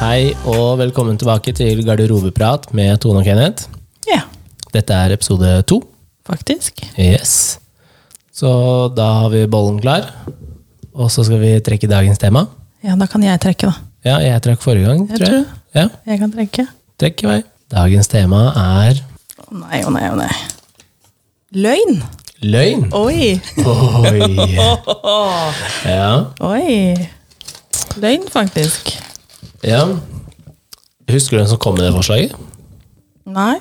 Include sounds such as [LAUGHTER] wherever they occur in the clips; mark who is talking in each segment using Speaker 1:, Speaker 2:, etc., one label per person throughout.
Speaker 1: Hei og velkommen tilbake til Garderobeprat med Tone og Kenneth.
Speaker 2: Ja,
Speaker 1: Dette er episode to.
Speaker 2: faktisk.
Speaker 1: Yes. Så da har vi bollen klar, og så skal vi trekke dagens tema.
Speaker 2: Ja, da kan jeg trekke, da.
Speaker 1: Ja, jeg trakk forrige gang,
Speaker 2: Jeg
Speaker 1: tror jeg. Ja,
Speaker 2: Jeg kan trekke.
Speaker 1: trekk i vei. Dagens tema er
Speaker 2: Å nei, å nei, å nei. Løgn!
Speaker 1: løgn.
Speaker 2: Oi!
Speaker 1: Oi. Ja.
Speaker 2: Oi! Løgn, faktisk.
Speaker 1: ja. Husker du hvem som kom med det forslaget?
Speaker 2: Nei.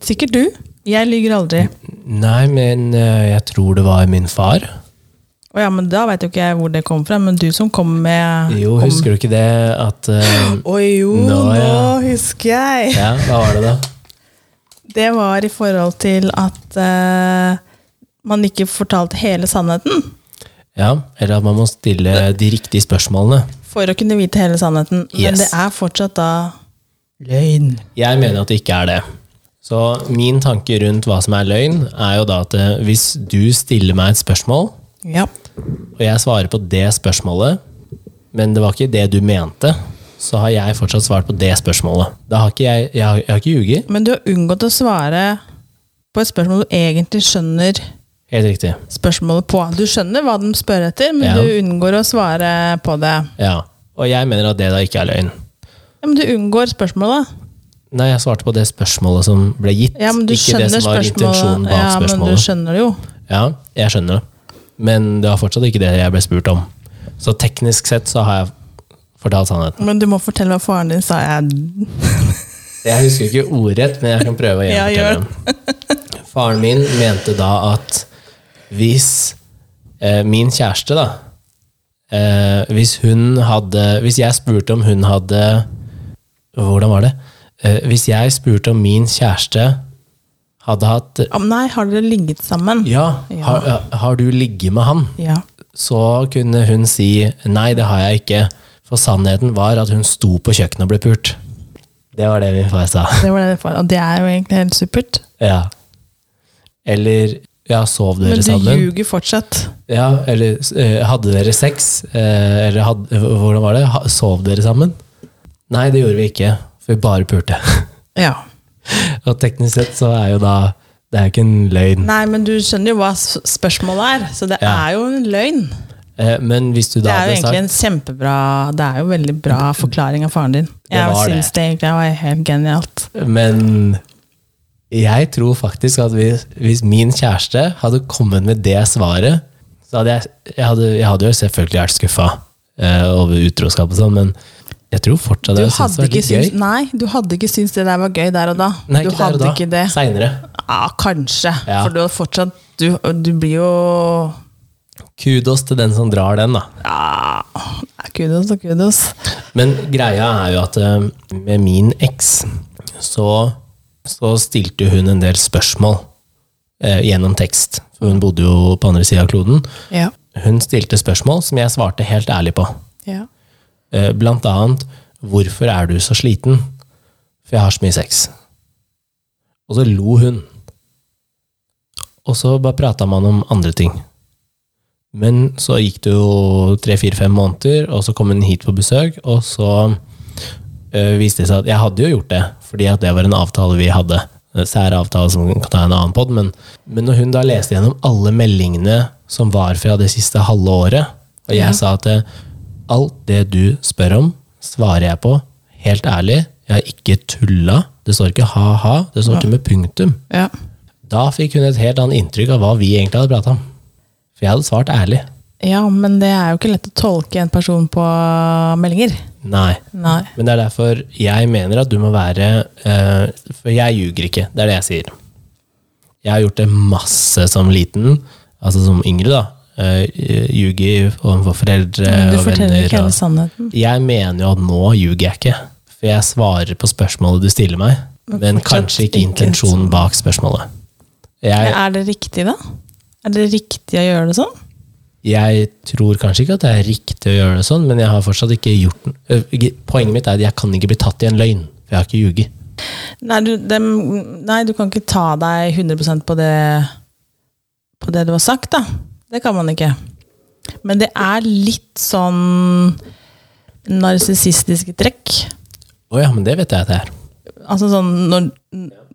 Speaker 2: Sikkert du. Jeg lyver aldri.
Speaker 1: Nei, men eh, jeg tror det var min far.
Speaker 2: Å ja, men da veit jo ikke jeg hvor det kom fra, men du som kom med
Speaker 1: Jo, husker du ikke det at [LAUGHS] eh,
Speaker 2: Oi, jo, nå,
Speaker 1: Nå, ja.
Speaker 2: husker jeg!
Speaker 1: Ja, hva var det da?
Speaker 2: Det var i forhold til at eh, man ikke fortalte hele sannheten.
Speaker 1: Ja, eller at man må stille de riktige spørsmålene.
Speaker 2: For å kunne vite hele sannheten. Men
Speaker 1: Yes.
Speaker 2: det er fortsatt da Løgn.
Speaker 1: Jeg mener at det ikke er det. Så min tanke rundt hva som er løgn, er jo da at eh, hvis du stiller meg et spørsmål,
Speaker 2: Ja.
Speaker 1: og jeg svarer på det spørsmålet, men det var ikke det du mente, så har jeg fortsatt svart på det spørsmålet. Da har ikke jeg, jeg, har, jeg har ikke ljuget.
Speaker 2: Men du har unngått å svare på et spørsmål du egentlig skjønner
Speaker 1: Helt riktig.
Speaker 2: spørsmålet på. Du skjønner hva de spør etter, men
Speaker 1: Ja.
Speaker 2: du unngår å svare på det.
Speaker 1: Ja. Og jeg mener at det da ikke er løgn.
Speaker 2: Ja, men du unngår spørsmålet.
Speaker 1: Nei, jeg svarte på det spørsmålet som ble gitt.
Speaker 2: Ja, men du
Speaker 1: ikke
Speaker 2: skjønner
Speaker 1: det som var intensjonen
Speaker 2: spørsmålet.
Speaker 1: bak
Speaker 2: Ja, men du
Speaker 1: spørsmålet.
Speaker 2: skjønner det jo.
Speaker 1: Ja, jeg skjønner det. Men det var fortsatt ikke det jeg ble spurt om. Så teknisk sett så har jeg fortalt sannheten.
Speaker 2: Men du må fortelle hva faren din sa. Jeg,
Speaker 1: Jeg husker ikke ordrett, men jeg kan prøve å
Speaker 2: [LAUGHS] Ja, gjør
Speaker 1: gjenfortelle
Speaker 2: [LAUGHS]
Speaker 1: den. Faren min mente da at hvis eh, min kjæreste, da eh, Hvis hun hadde Hvis jeg spurte om hun hadde Hvordan var det? Eh, hvis jeg spurte om min kjæreste hadde hatt
Speaker 2: Å, nei, har dere ligget sammen?
Speaker 1: Ja,
Speaker 2: Ja.
Speaker 1: har, har du ligget med han?
Speaker 2: Ja.
Speaker 1: så kunne hun si nei, det har jeg ikke. For sannheten var at hun sto på kjøkkenet og ble pult. Det var det min far sa.
Speaker 2: Det var det far. Og det er jo egentlig helt supert.
Speaker 1: Ja. Eller ja, sov dere
Speaker 2: Men du
Speaker 1: sammen?
Speaker 2: ljuger fortsatt.
Speaker 1: Ja, eller eh, hadde dere sex? Eh, eller had, hvordan var det? Ha, sov dere sammen? Nei, det gjorde vi ikke, for vi bare pulte. [LAUGHS]
Speaker 2: Ja.
Speaker 1: og teknisk sett så er jo da Det er jo ikke en løgn.
Speaker 2: Nei, men du skjønner jo hva s- spørsmålet er, så det
Speaker 1: Ja.
Speaker 2: er jo en løgn.
Speaker 1: Eh, men hvis du
Speaker 2: Det
Speaker 1: da
Speaker 2: er jo
Speaker 1: hadde
Speaker 2: egentlig
Speaker 1: sagt
Speaker 2: en kjempebra Det er jo veldig bra forklaring av faren din. Jeg
Speaker 1: var det.
Speaker 2: syns det egentlig var helt genialt.
Speaker 1: Men jeg tror faktisk at hvis, hvis min kjæreste hadde kommet med det svaret, så hadde jeg, jeg, hadde, jeg hadde jo selvfølgelig vært skuffa eh, over utroskap og sånn, men jeg tror fortsatt
Speaker 2: Du
Speaker 1: jeg syntes
Speaker 2: hadde,
Speaker 1: det var
Speaker 2: ikke
Speaker 1: litt
Speaker 2: syns,
Speaker 1: gøy.
Speaker 2: nei, du hadde ikke syntes det der var gøy der og da.
Speaker 1: Nei,
Speaker 2: du
Speaker 1: ikke
Speaker 2: hadde
Speaker 1: der og
Speaker 2: ikke
Speaker 1: da.
Speaker 2: det.
Speaker 1: Seinere.
Speaker 2: Ja, kanskje.
Speaker 1: Ja.
Speaker 2: For du hadde fortsatt du, du blir jo
Speaker 1: Kudos til den som drar den, da.
Speaker 2: ja, Kudos og kudos.
Speaker 1: Men greia er jo at eh, med min eks så, så stilte hun en del spørsmål eh, gjennom tekst. For hun bodde jo på andre sida av kloden.
Speaker 2: Ja.
Speaker 1: Hun stilte spørsmål som jeg svarte helt ærlig på.
Speaker 2: ja.
Speaker 1: Eh, Blant annet 'Hvorfor er du så sliten?' For jeg har så mye sex. Og så lo hun. Og så bare prata man om andre ting. Men så gikk det jo tre-fire-fem måneder, og så kom hun hit på besøk, og så eh, viste det seg at jeg hadde jo gjort det, fordi at det var en avtale vi hadde. En Sær avtale som kan ta en annen pod, men, men når hun da leste gjennom alle meldingene som var fra det siste halve året, og jeg sa at eh, alt det du spør om, svarer jeg på, helt ærlig, jeg har ikke tulla, det står ikke ha-ha, det står ikke med punktum.
Speaker 2: ja.
Speaker 1: Da fikk hun et helt annet inntrykk av hva vi egentlig hadde prata om. For jeg hadde svart ærlig.
Speaker 2: Ja, men det er jo ikke lett å tolke en person på meldinger.
Speaker 1: Nei.
Speaker 2: Nei.
Speaker 1: Men det er derfor jeg mener at du må være eh, For jeg ljuger ikke, det er det jeg sier. Jeg har gjort det masse som liten, altså som yngre, da. Uh, Ljuger overfor foreldre
Speaker 2: Men du
Speaker 1: og
Speaker 2: forteller
Speaker 1: venner.
Speaker 2: ikke hele
Speaker 1: og,
Speaker 2: sannheten.
Speaker 1: jeg mener jo at nå ljuger jeg ikke. For jeg svarer på spørsmålet du stiller meg, men
Speaker 2: fortsatt
Speaker 1: kanskje ikke
Speaker 2: ikke
Speaker 1: intensjonen bak spørsmålet. Jeg,
Speaker 2: Er det riktig, da? Er det riktig å gjøre det sånn?
Speaker 1: jeg tror kanskje ikke at det er riktig å gjøre det sånn, men jeg har fortsatt ikke gjort den. Ø, ikke- Poenget mitt er at jeg kan ikke bli tatt i en løgn, for jeg har ikke ljuget.
Speaker 2: Nei du, dem, nei, du kan ikke ta deg 100 på det, på det du har sagt, da. Det kan man ikke. Men det er litt sånn narsissistiske trekk.
Speaker 1: Å ja, men det vet jeg at det er.
Speaker 2: Altså sånn når,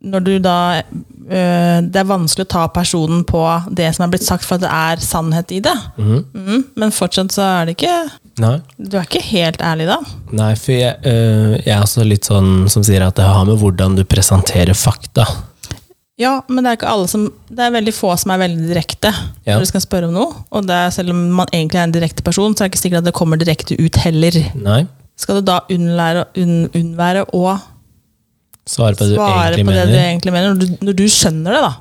Speaker 2: når du da øh, Det er vanskelig å ta personen på det som er blitt sagt, for at det er sannhet i det. Mhm, men fortsatt så er det ikke
Speaker 1: Nei,
Speaker 2: Du er ikke helt ærlig da.
Speaker 1: Nei for jeg, øh, jeg er også litt sånn som sier at det har med hvordan du presenterer fakta.
Speaker 2: Ja, men det er ikke alle som Det er veldig få som er veldig direkte
Speaker 1: Ja.
Speaker 2: når du skal spørre om noe. Og det er, selv om man egentlig er en direkte person, så er det ikke sikkert at det kommer direkte ut heller.
Speaker 1: Nei,
Speaker 2: Skal du da unnlære, unn, unnvære å
Speaker 1: svare på det du
Speaker 2: svare
Speaker 1: egentlig
Speaker 2: på det
Speaker 1: mener.
Speaker 2: du egentlig mener, når du, når du skjønner det, da?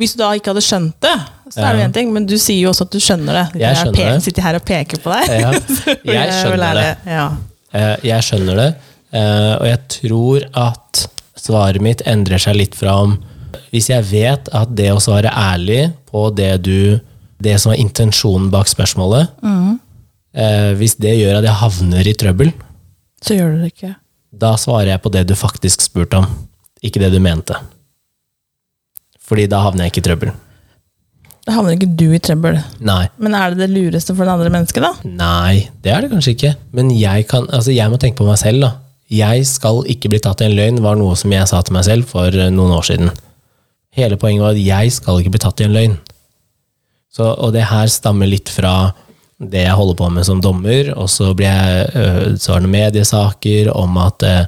Speaker 2: Hvis du da ikke hadde skjønt det, så er
Speaker 1: Ja.
Speaker 2: det jo én ting, men du sier jo også at du skjønner det.
Speaker 1: Jeg skjønner
Speaker 2: pe-
Speaker 1: det.
Speaker 2: Sitter her og peker på deg.
Speaker 1: Ja,
Speaker 2: [LAUGHS] Så vil
Speaker 1: jeg
Speaker 2: vil
Speaker 1: skjønner
Speaker 2: lære- Ja.
Speaker 1: Eh, Jeg skjønner det, eh, og jeg tror at svaret mitt endrer seg litt fra om Hvis jeg vet at det å svare ærlig på det du Det som er intensjonen bak spørsmålet eh, Hvis det gjør at jeg havner i trøbbel,
Speaker 2: Så gjør du det ikke.
Speaker 1: da svarer jeg på det du faktisk spurte om, ikke det du mente. Fordi da havner jeg ikke i trøbbel.
Speaker 2: Da havner ikke du i trøbbel.
Speaker 1: Nei.
Speaker 2: Men er det det lureste for det andre mennesket, da?
Speaker 1: Nei, det er det kanskje ikke. Men jeg, kan, altså jeg må tenke på meg selv. da. Jeg skal ikke bli tatt i en løgn, var noe som jeg sa til meg selv for eh, noen år siden. Hele poenget var at jeg skal ikke bli tatt i en løgn. Så, og det her stammer litt fra det jeg holder på med som dommer, og så ble jeg, øh, så var det mediesaker om at eh,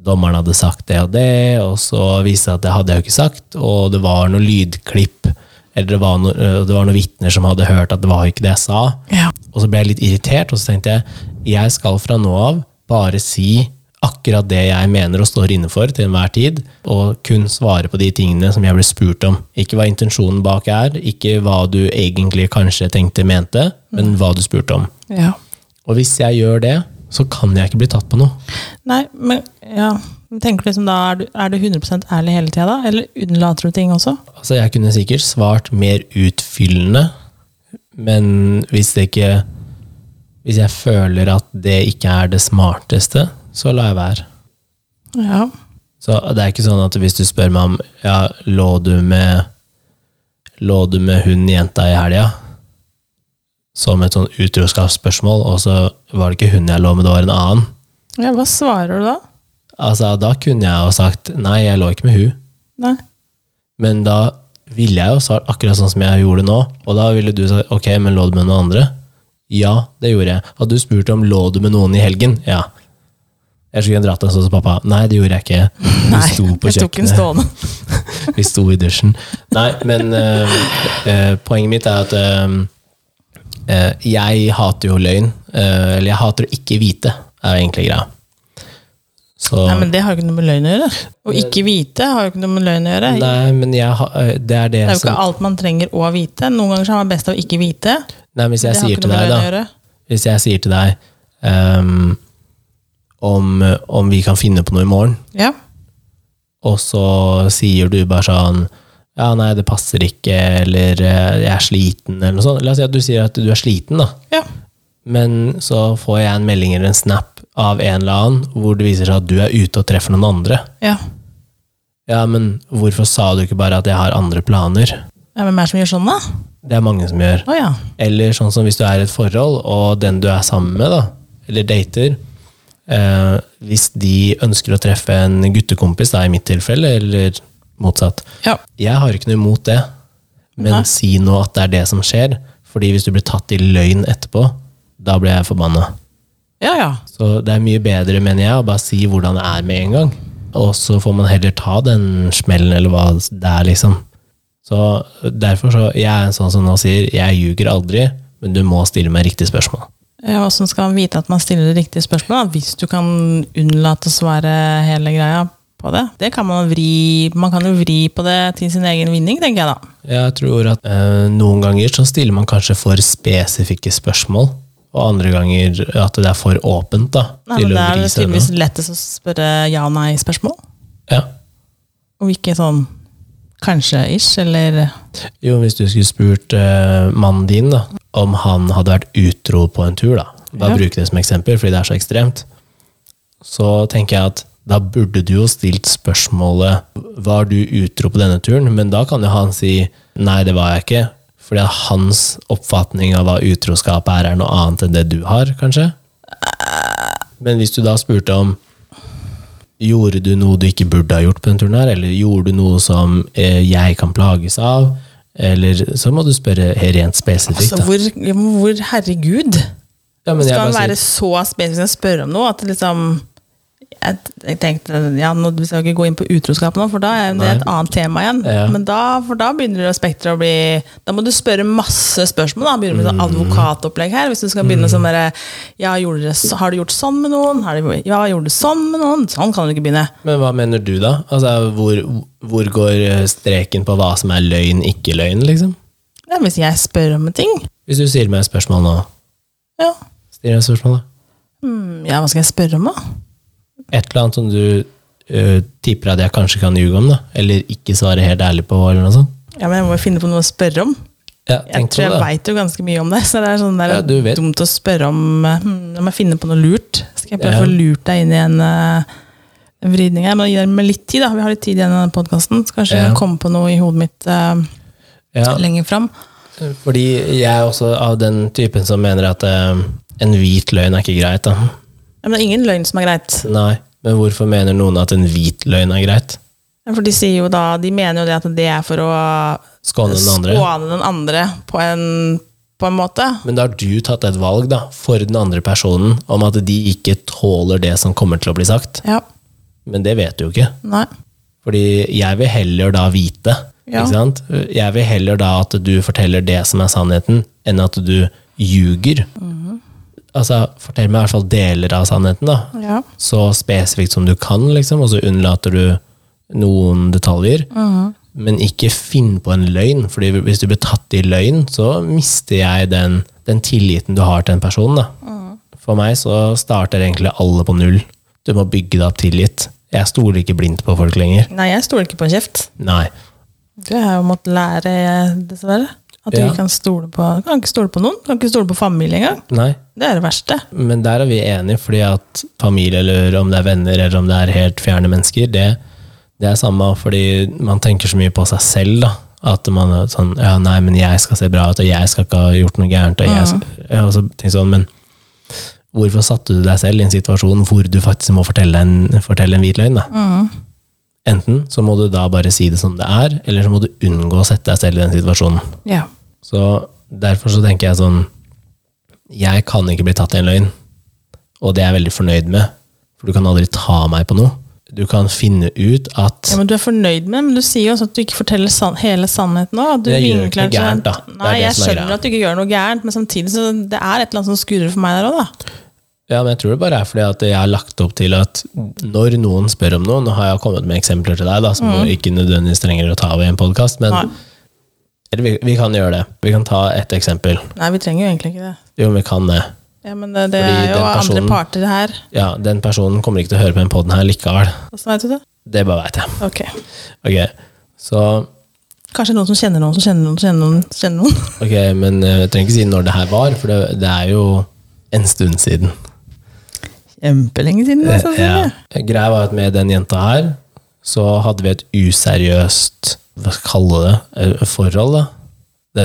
Speaker 1: dommeren hadde sagt det og det, og så viste det seg at det hadde jeg jo ikke sagt, og det var noen lydklipp, eller det var, noe, øh, det var noen vitner som hadde hørt at det var jo ikke det jeg sa.
Speaker 2: Ja.
Speaker 1: Og så ble jeg litt irritert, og så tenkte jeg jeg skal fra nå av bare si akkurat det jeg mener og står inne for til enhver tid, og kun svare på de tingene som jeg ble spurt om. Ikke hva intensjonen bak er, ikke hva du egentlig kanskje tenkte mente, men hva du spurte om.
Speaker 2: ja.
Speaker 1: Og hvis jeg gjør det, så kan jeg ikke bli tatt på noe.
Speaker 2: Nei, men ja. Men Tenker du liksom da, Er du, er du 100 ærlig hele tida, da? Eller unnlater du ting også?
Speaker 1: Altså, jeg kunne sikkert svart mer utfyllende, men hvis det ikke Hvis jeg føler at det ikke er det smarteste, så lar jeg være.
Speaker 2: Ja.
Speaker 1: Så det er ikke sånn at hvis du spør meg om ja, lå du med lå du med hun jenta i helga, som et sånn utroskapsspørsmål, og så var det ikke hun jeg lå med, det var en annen.
Speaker 2: ja. Hva svarer du da?
Speaker 1: Altså, da kunne jeg jo sagt nei, jeg lå ikke med hun.
Speaker 2: Nei.
Speaker 1: Men da ville jeg jo svart akkurat sånn som jeg gjorde nå, og da ville du sagt ok, men lå du med noen andre? Ja, det gjorde jeg. Hadde du spurt om lå du med noen i helgen? Ja. Jeg skulle dratt en sånn som pappa. Nei, det gjorde jeg ikke. Du
Speaker 2: Nei,
Speaker 1: sto på
Speaker 2: jeg tok en
Speaker 1: kjøkkenet.
Speaker 2: stående.
Speaker 1: Vi sto i dusjen. Nei, men eh, eh, poenget mitt er at eh, eh, jeg hater jo løgn. eh, eller jeg hater å ikke vite, er egentlig greia. Så
Speaker 2: Nei, men Det har jo ikke noe med løgn å gjøre. Å ikke vite har jo ikke noe med løgn å gjøre.
Speaker 1: Nei, men jeg ha, eh, det er det,
Speaker 2: Det er jo ikke
Speaker 1: som
Speaker 2: alt man trenger å vite. Noen ganger så er man best av å ikke vite.
Speaker 1: Nei, men hvis jeg
Speaker 2: det har
Speaker 1: sier
Speaker 2: ikke
Speaker 1: til
Speaker 2: noe med
Speaker 1: deg,
Speaker 2: løgn å
Speaker 1: da
Speaker 2: gjøre.
Speaker 1: Hvis jeg sier til deg ehm, om, om vi kan finne på noe i morgen,
Speaker 2: Ja.
Speaker 1: og så sier du bare sånn Ja, nei, det passer ikke, eller eh, jeg er sliten, eller noe sånt. La oss si at du sier at du er sliten, da.
Speaker 2: ja.
Speaker 1: Men så får jeg en melding eller en snap av en eller annen hvor det viser seg at du er ute og treffer noen andre.
Speaker 2: Ja.
Speaker 1: Ja, men hvorfor sa du ikke bare at jeg har andre planer?
Speaker 2: Ja, Hvem er det som gjør sånn, da?
Speaker 1: Det er mange som gjør.
Speaker 2: Å ja.
Speaker 1: Eller sånn som hvis du er i et forhold, og den du er sammen med, da, eller dater eh, Hvis de ønsker å treffe en guttekompis, da i mitt tilfelle, eller motsatt
Speaker 2: ja.
Speaker 1: Jeg har ikke noe imot det, men
Speaker 2: Nei.
Speaker 1: si nå at det er det som skjer. Fordi hvis du blir tatt i løgn etterpå, da blir jeg forbanna.
Speaker 2: Ja, ja.
Speaker 1: Så det er mye bedre, mener jeg, å bare si hvordan det er med en gang. Og så får man heller ta den smellen, eller hva det er, liksom. Så derfor så Jeg er en sånn som nå sier, jeg ljuger aldri, men du må stille meg riktig spørsmål.
Speaker 2: Ja, Hvordan skal man vite at man stiller det riktige spørsmålet? da? Hvis du kan unnlate å svare hele greia på det. Det kan Man vri Man kan jo vri på det til sin egen vinning, tenker jeg da.
Speaker 1: Jeg tror at eh, noen ganger så stiller man kanskje for spesifikke spørsmål, og andre ganger at det er for åpent, da.
Speaker 2: Nei,
Speaker 1: til å
Speaker 2: men Det er
Speaker 1: vri
Speaker 2: det
Speaker 1: seg unna.
Speaker 2: tydeligvis lettest å spørre ja-nei-spørsmål.
Speaker 1: Ja.
Speaker 2: Og ikke sånn kanskje-ish, eller
Speaker 1: Jo, hvis du skulle spurt eh, mannen din da, om han hadde vært utro på en tur, da. Bare
Speaker 2: Ja.
Speaker 1: bruke det som eksempel, fordi det er så ekstremt. Så tenker jeg at da burde du jo stilt spørsmålet Var du utro på denne turen? Men da kan jo han si nei, det var jeg ikke. Fordi at hans oppfatning av hva utroskap er, er noe annet enn det du har, kanskje. Men hvis du da spurte om Gjorde du noe du ikke burde ha gjort på den turen her? Eller gjorde du noe som eh, jeg kan plages av? Eller så må du spørre helt rent spesifikt.
Speaker 2: Altså,
Speaker 1: Da.
Speaker 2: hvor, ja, men hvor Herregud!
Speaker 1: Ja, men jeg
Speaker 2: Skal han
Speaker 1: bare
Speaker 2: være
Speaker 1: sier-
Speaker 2: så spesifikk og spørre om noe at det liksom jeg, jeg tenkte, ja, nå Vi skal ikke gå inn på utroskap nå, for da er det et annet tema igjen.
Speaker 1: Ja.
Speaker 2: Men da, for da begynner det spekteret å bli Da må du spørre masse spørsmål. da Begynner med sånn
Speaker 1: Mm.
Speaker 2: advokatopplegg her. Hvis du skal begynne sånn derre ja, gjorde dere så- Har du gjort sånn med noen? Har du, ja, gjorde du sånn med noen? Sånn kan du ikke begynne.
Speaker 1: Men hva mener du, da? Altså, hvor, hvor går eh, streken på hva som er løgn, ikke løgn, liksom?
Speaker 2: Ja, hvis jeg spør om en ting
Speaker 1: Hvis du stiller meg et spørsmål nå,
Speaker 2: ja.
Speaker 1: stiller jeg et spørsmål, da.
Speaker 2: Hmm, ja, hva skal jeg spørre om, da?
Speaker 1: Et eller annet som du eh, tipper at jeg kanskje kan ljuge om, da? Eller ikke svare helt ærlig på, eller noe sånt?
Speaker 2: Ja, men Jeg må jo finne på noe å spørre om.
Speaker 1: Ja,
Speaker 2: Jeg
Speaker 1: tenk på
Speaker 2: tror jeg
Speaker 1: det. da.
Speaker 2: veit jo ganske mye om det, så det er sånn der,
Speaker 1: Ja, du vet.
Speaker 2: dumt å spørre om eh, hm, La meg finne på noe lurt. Skal jeg prøve
Speaker 1: Ja.
Speaker 2: å få lurt deg inn i en eh, en vridning her? Men gi dem litt tid, da. Vi har litt tid igjen i denne podkasten. Kanskje
Speaker 1: Ja.
Speaker 2: det kommer på noe i hodet mitt eh,
Speaker 1: Ja.
Speaker 2: lenger fram.
Speaker 1: Fordi jeg er også av den typen som mener at eh, en hvit løgn er ikke greit, da.
Speaker 2: Ja, men det er ingen løgn som er greit.
Speaker 1: Nei, men hvorfor mener noen at en hvit løgn er greit?
Speaker 2: Ja, For de sier jo da De mener jo det at det er for å
Speaker 1: Skåne den andre.
Speaker 2: skåne den andre på en, på en måte.
Speaker 1: Men da har du tatt et valg da, for den andre personen om at de ikke tåler det som kommer til å bli sagt.
Speaker 2: Ja.
Speaker 1: Men det vet du jo ikke.
Speaker 2: Nei.
Speaker 1: Fordi jeg vil heller da vite.
Speaker 2: Ja.
Speaker 1: Ikke sant? Jeg vil heller da at du forteller det som er sannheten, enn at du ljuger. Altså, fortell meg i hvert fall deler av sannheten, da.
Speaker 2: Ja.
Speaker 1: så spesifikt som du kan, liksom, og så unnlater du noen detaljer. Men ikke finn på en løgn, Fordi hvis du blir tatt i løgn, så mister jeg den, den tilliten du har til en person. Da. For meg så starter egentlig alle på null. Du må bygge deg opp tillit. Jeg stoler ikke blindt på folk lenger.
Speaker 2: Nei, jeg stoler ikke på kjeft.
Speaker 1: Nei.
Speaker 2: Det har jeg jo måttet lære, dessverre. At du
Speaker 1: Ja.
Speaker 2: ikke kan stole på, du kan ikke stole på noen. Du kan ikke stole på familie engang.
Speaker 1: Nei.
Speaker 2: Det er det verste.
Speaker 1: Men der er vi enige, fordi at familie, eller om det er venner, eller om det er helt fjerne mennesker, det, det er samme, fordi man tenker så mye på seg selv, da. At man er sånn Ja, nei, men jeg skal se bra ut, og jeg skal ikke ha gjort noe gærent, og jeg skal ja, og så tenker jeg sånn, men hvorfor satte du deg selv i en situasjon hvor du faktisk må fortelle en, fortelle en hvit løgn, da? Enten så må du da bare si det som det er, eller så må du unngå å sette deg selv i den situasjonen.
Speaker 2: Ja.
Speaker 1: Så derfor så tenker jeg sånn Jeg kan ikke bli tatt i en løgn, og det er jeg veldig fornøyd med. For du kan aldri ta meg på noe. Du kan finne ut at
Speaker 2: men Du er fornøyd med det, men du sier jo også at du ikke forteller sann, hele sannheten òg.
Speaker 1: Jeg gjør ikke noe gærent, da. Det er
Speaker 2: Nei,
Speaker 1: det
Speaker 2: jeg
Speaker 1: som er
Speaker 2: skjønner
Speaker 1: greia.
Speaker 2: at du ikke gjør noe gærent, men samtidig så det er et eller annet som skurrer for meg der òg, da.
Speaker 1: Ja, men jeg tror det bare er fordi at jeg har lagt opp til at når noen spør om noe Nå har jeg kommet med eksempler til deg, da, som du ikke nødvendigvis trenger å ta av i en podkast, men
Speaker 2: Nei.
Speaker 1: eller vi, vi kan gjøre det. Vi kan ta ett eksempel.
Speaker 2: Nei, vi trenger jo egentlig ikke det.
Speaker 1: Jo, vi kan det.
Speaker 2: Ja, Men det, det
Speaker 1: Fordi
Speaker 2: er jo
Speaker 1: den
Speaker 2: andre
Speaker 1: personen-
Speaker 2: parter her.
Speaker 1: Ja, den personen kommer ikke til å høre på den poden her likevel.
Speaker 2: Åssen veit du det?
Speaker 1: Det bare veit jeg.
Speaker 2: Ok.
Speaker 1: Ok, så
Speaker 2: Kanskje noen som kjenner noen som kjenner noen som kjenner noen. som kjenner noen. [LAUGHS]
Speaker 1: Ok, men eh, jeg trenger ikke si når det her var, for det, det er jo en stund siden.
Speaker 2: Kjempelenge siden, altså, da, sannsynlig.
Speaker 1: Ja. Greia var at med den jenta her, så hadde vi et useriøst, hva skal jeg kalle det, eh, forhold da. Det,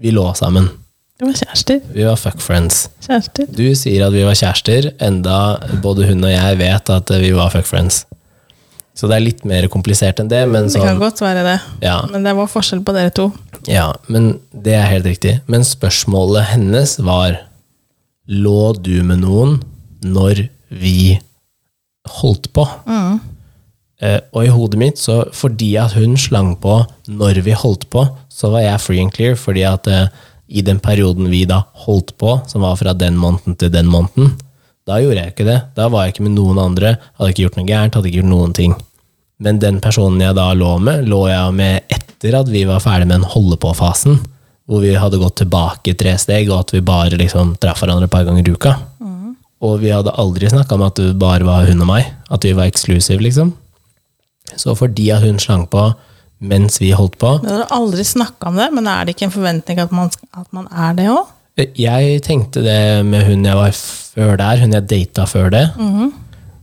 Speaker 1: vi lå sammen.
Speaker 2: Det var kjærester.
Speaker 1: Vi var fuck friends.
Speaker 2: Kjærester.
Speaker 1: Du sier at vi var kjærester, enda både hun og jeg vet at eh, vi var fuck friends. Så det er litt mer komplisert enn det, men
Speaker 2: Det kan
Speaker 1: sånn,
Speaker 2: godt være det.
Speaker 1: ja.
Speaker 2: Men det var forskjell på dere to.
Speaker 1: Ja, men det er helt riktig. Men spørsmålet hennes var Lå du med noen når vi holdt på? Eh, og i hodet mitt, så fordi at hun slang på når vi holdt på, så var jeg free and clear, fordi at eh, i den perioden vi da holdt på, som var fra den måneden til den måneden, da gjorde jeg ikke det. Da var jeg ikke med noen andre, hadde ikke gjort noe gærent, hadde ikke gjort noen ting. Men den personen jeg da lå med, lå jeg med etter at vi var ferdig med den holde-på-fasen, hvor vi hadde gått tilbake tre steg, og at vi bare liksom traff hverandre et par ganger i uka. Og vi hadde aldri snakka om at det bare var hun og meg, at vi var eksklusive, liksom. Så fordi at hun slang på mens vi holdt på
Speaker 2: Men Dere har aldri snakka om det, men er det ikke en forventning at man, at man er det òg?
Speaker 1: Jeg tenkte det med hun jeg var før der, hun jeg data før det.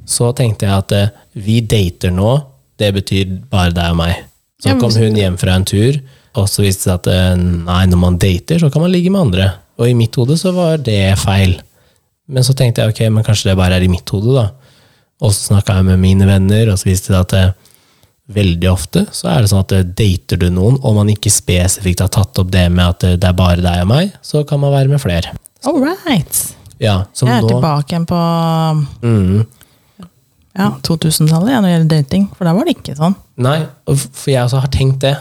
Speaker 1: Så tenkte jeg at eh, vi dater nå, det betyr bare deg og meg. Så
Speaker 2: Ja, men
Speaker 1: kom hun hjem fra en tur, og så viste det seg at eh, nei, når man dater, så kan man ligge med andre. Og i mitt hode så var det feil. Men så tenkte jeg ok, men kanskje det bare er i mitt hode, da. Og så snakka jeg med mine venner, og så viste det at eh, veldig ofte så er det sånn at eh, dater du noen, og man ikke spesifikt har tatt opp det med at eh, det er bare deg og meg, så kan man være med flere.
Speaker 2: All right.
Speaker 1: Ja, så
Speaker 2: Jeg er
Speaker 1: nå,
Speaker 2: tilbake igjen på
Speaker 1: mm,
Speaker 2: ja, 2000-tallet ja, når det gjelder dating, for der var det ikke sånn.
Speaker 1: Nei, og f- for jeg også har tenkt det.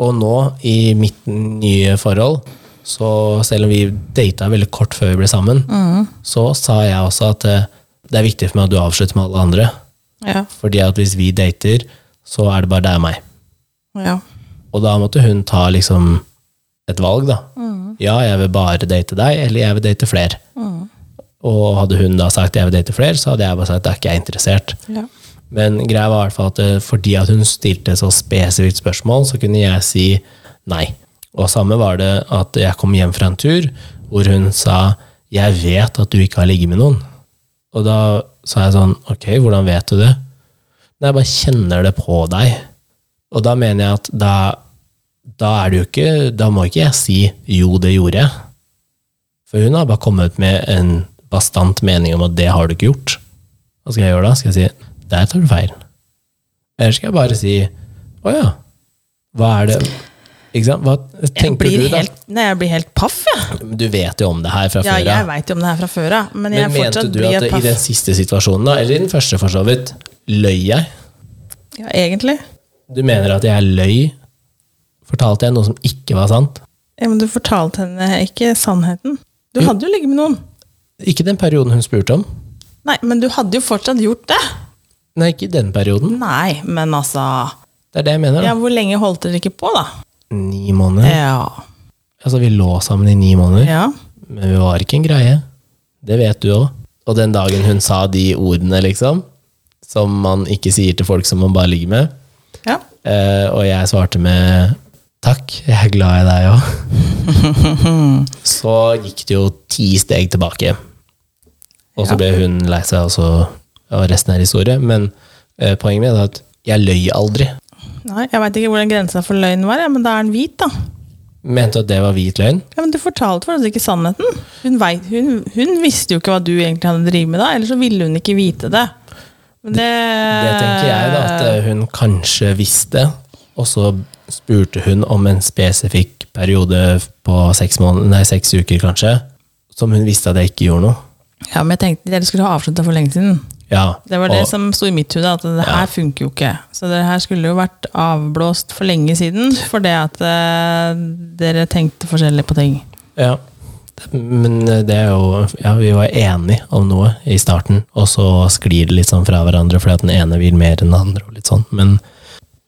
Speaker 1: Og nå, i mitt nye forhold, så selv om vi data veldig kort før vi ble sammen, så sa jeg også at eh, det er viktig for meg at du avslutter med alle andre.
Speaker 2: Ja.
Speaker 1: Fordi at hvis vi dater, så er det bare deg og meg.
Speaker 2: ja.
Speaker 1: Og da måtte hun ta liksom et valg, da. Ja, jeg vil bare date deg, eller jeg vil date flere. Og hadde hun da sagt jeg vil date flere, så hadde jeg bare sagt da er ikke jeg interessert.
Speaker 2: ja.
Speaker 1: Men greia var i hvert fall at eh, fordi at hun stilte et så spesifikt spørsmål, så kunne jeg si nei. Og samme var det at jeg kom hjem fra en tur hvor hun sa 'jeg vet at du ikke har ligget med noen'. Og da sa jeg sånn 'ok, hvordan vet du det?' Nei, jeg bare kjenner det på deg. Og da mener jeg at da, da er det jo ikke Da må ikke jeg si 'jo, det gjorde jeg'. For hun har bare kommet med en bastant mening om at 'det har du ikke gjort'. Hva skal jeg gjøre da? Skal jeg si 'der tar du feil'? Eller skal jeg bare si 'å ja, hva er det' Ikke sant? Hva
Speaker 2: Jeg
Speaker 1: tenker
Speaker 2: blir
Speaker 1: du, da?
Speaker 2: helt, nei, jeg blir helt paff, jeg.
Speaker 1: Du vet jo om det her fra
Speaker 2: Ja,
Speaker 1: før
Speaker 2: jeg veit jo om det her fra før av, men jeg
Speaker 1: Men mente
Speaker 2: fortsatt
Speaker 1: du
Speaker 2: blir
Speaker 1: at
Speaker 2: helt
Speaker 1: i
Speaker 2: paff.
Speaker 1: den siste situasjonen, da, eller i den første for så vidt, løy jeg?
Speaker 2: Ja, egentlig.
Speaker 1: Du mener at jeg løy? Fortalte jeg noe som ikke var sant?
Speaker 2: Ja, men du fortalte henne ikke sannheten. Du hadde jo ligget med noen.
Speaker 1: Ikke den perioden hun spurte om.
Speaker 2: Nei, men du hadde jo fortsatt gjort det.
Speaker 1: Nei, ikke den perioden.
Speaker 2: Nei, men altså
Speaker 1: Det er det jeg mener.
Speaker 2: Ja,
Speaker 1: da.
Speaker 2: hvor lenge holdt dere ikke på, da?
Speaker 1: Ni måneder.
Speaker 2: Ja.
Speaker 1: Altså, vi lå sammen i ni måneder,
Speaker 2: ja.
Speaker 1: men vi var ikke en greie. Det vet du òg. Og den dagen hun sa de ordene, liksom, som man ikke sier til folk som man bare ligger med,
Speaker 2: ja.
Speaker 1: Eh, og jeg svarte med takk, jeg er glad i deg òg.
Speaker 2: [LAUGHS]
Speaker 1: så gikk det jo ti steg tilbake. Og så ble hun lei seg, og, så, og resten er historie. Men eh, poenget mitt er at jeg løy aldri.
Speaker 2: Nei, jeg veit ikke hvor den grensa for løgn var, ja, men da er den hvit, da.
Speaker 1: Mente at det var hvit løgn.
Speaker 2: Ja, men Du fortalte for oss ikke sannheten. Hun, vet, hun, hun visste jo ikke hva du egentlig hadde drevet med da, eller så ville hun ikke vite det. Men det,
Speaker 1: Det tenker jeg, da. At eh, hun kanskje visste. Og så spurte hun om en spesifikk periode på seks, måneder, nei, seks uker, kanskje, som hun visste at jeg ikke gjorde noe.
Speaker 2: Ja, men jeg tenkte Dere skulle ha avslutta for lenge siden.
Speaker 1: Ja,
Speaker 2: Det var det
Speaker 1: og,
Speaker 2: som sto i mitt hode, at det her funker jo ikke. Så det her skulle jo vært avblåst for lenge siden, fordi at eh, dere tenkte forskjellig på ting.
Speaker 1: Ja. Men eh, det er jo Ja, vi var enige om noe i starten, og så sklir det litt sånn fra hverandre fordi at den ene vil mer enn den andre. og litt sånn. Men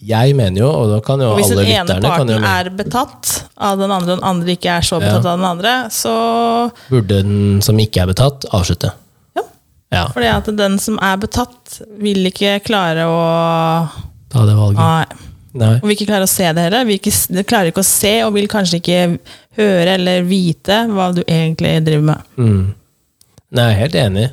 Speaker 1: jeg mener jo, og da kan jo
Speaker 2: Og hvis
Speaker 1: alle
Speaker 2: den ene
Speaker 1: lytterne kan jo,
Speaker 2: parten er betatt av den andre, og den andre ikke er så betatt av den andre, så
Speaker 1: Burde den som ikke er betatt, avslutte?
Speaker 2: ja.
Speaker 1: Ja,
Speaker 2: Fordi at den som er betatt, vil ikke klare å
Speaker 1: ta det valget.
Speaker 2: Nei.
Speaker 1: Nei.
Speaker 2: Og vil ikke klare å se det heller. Vil ikke, de klarer ikke å se, og vil kanskje ikke høre eller vite hva du egentlig driver med.
Speaker 1: Mm. Nei, jeg er helt enig.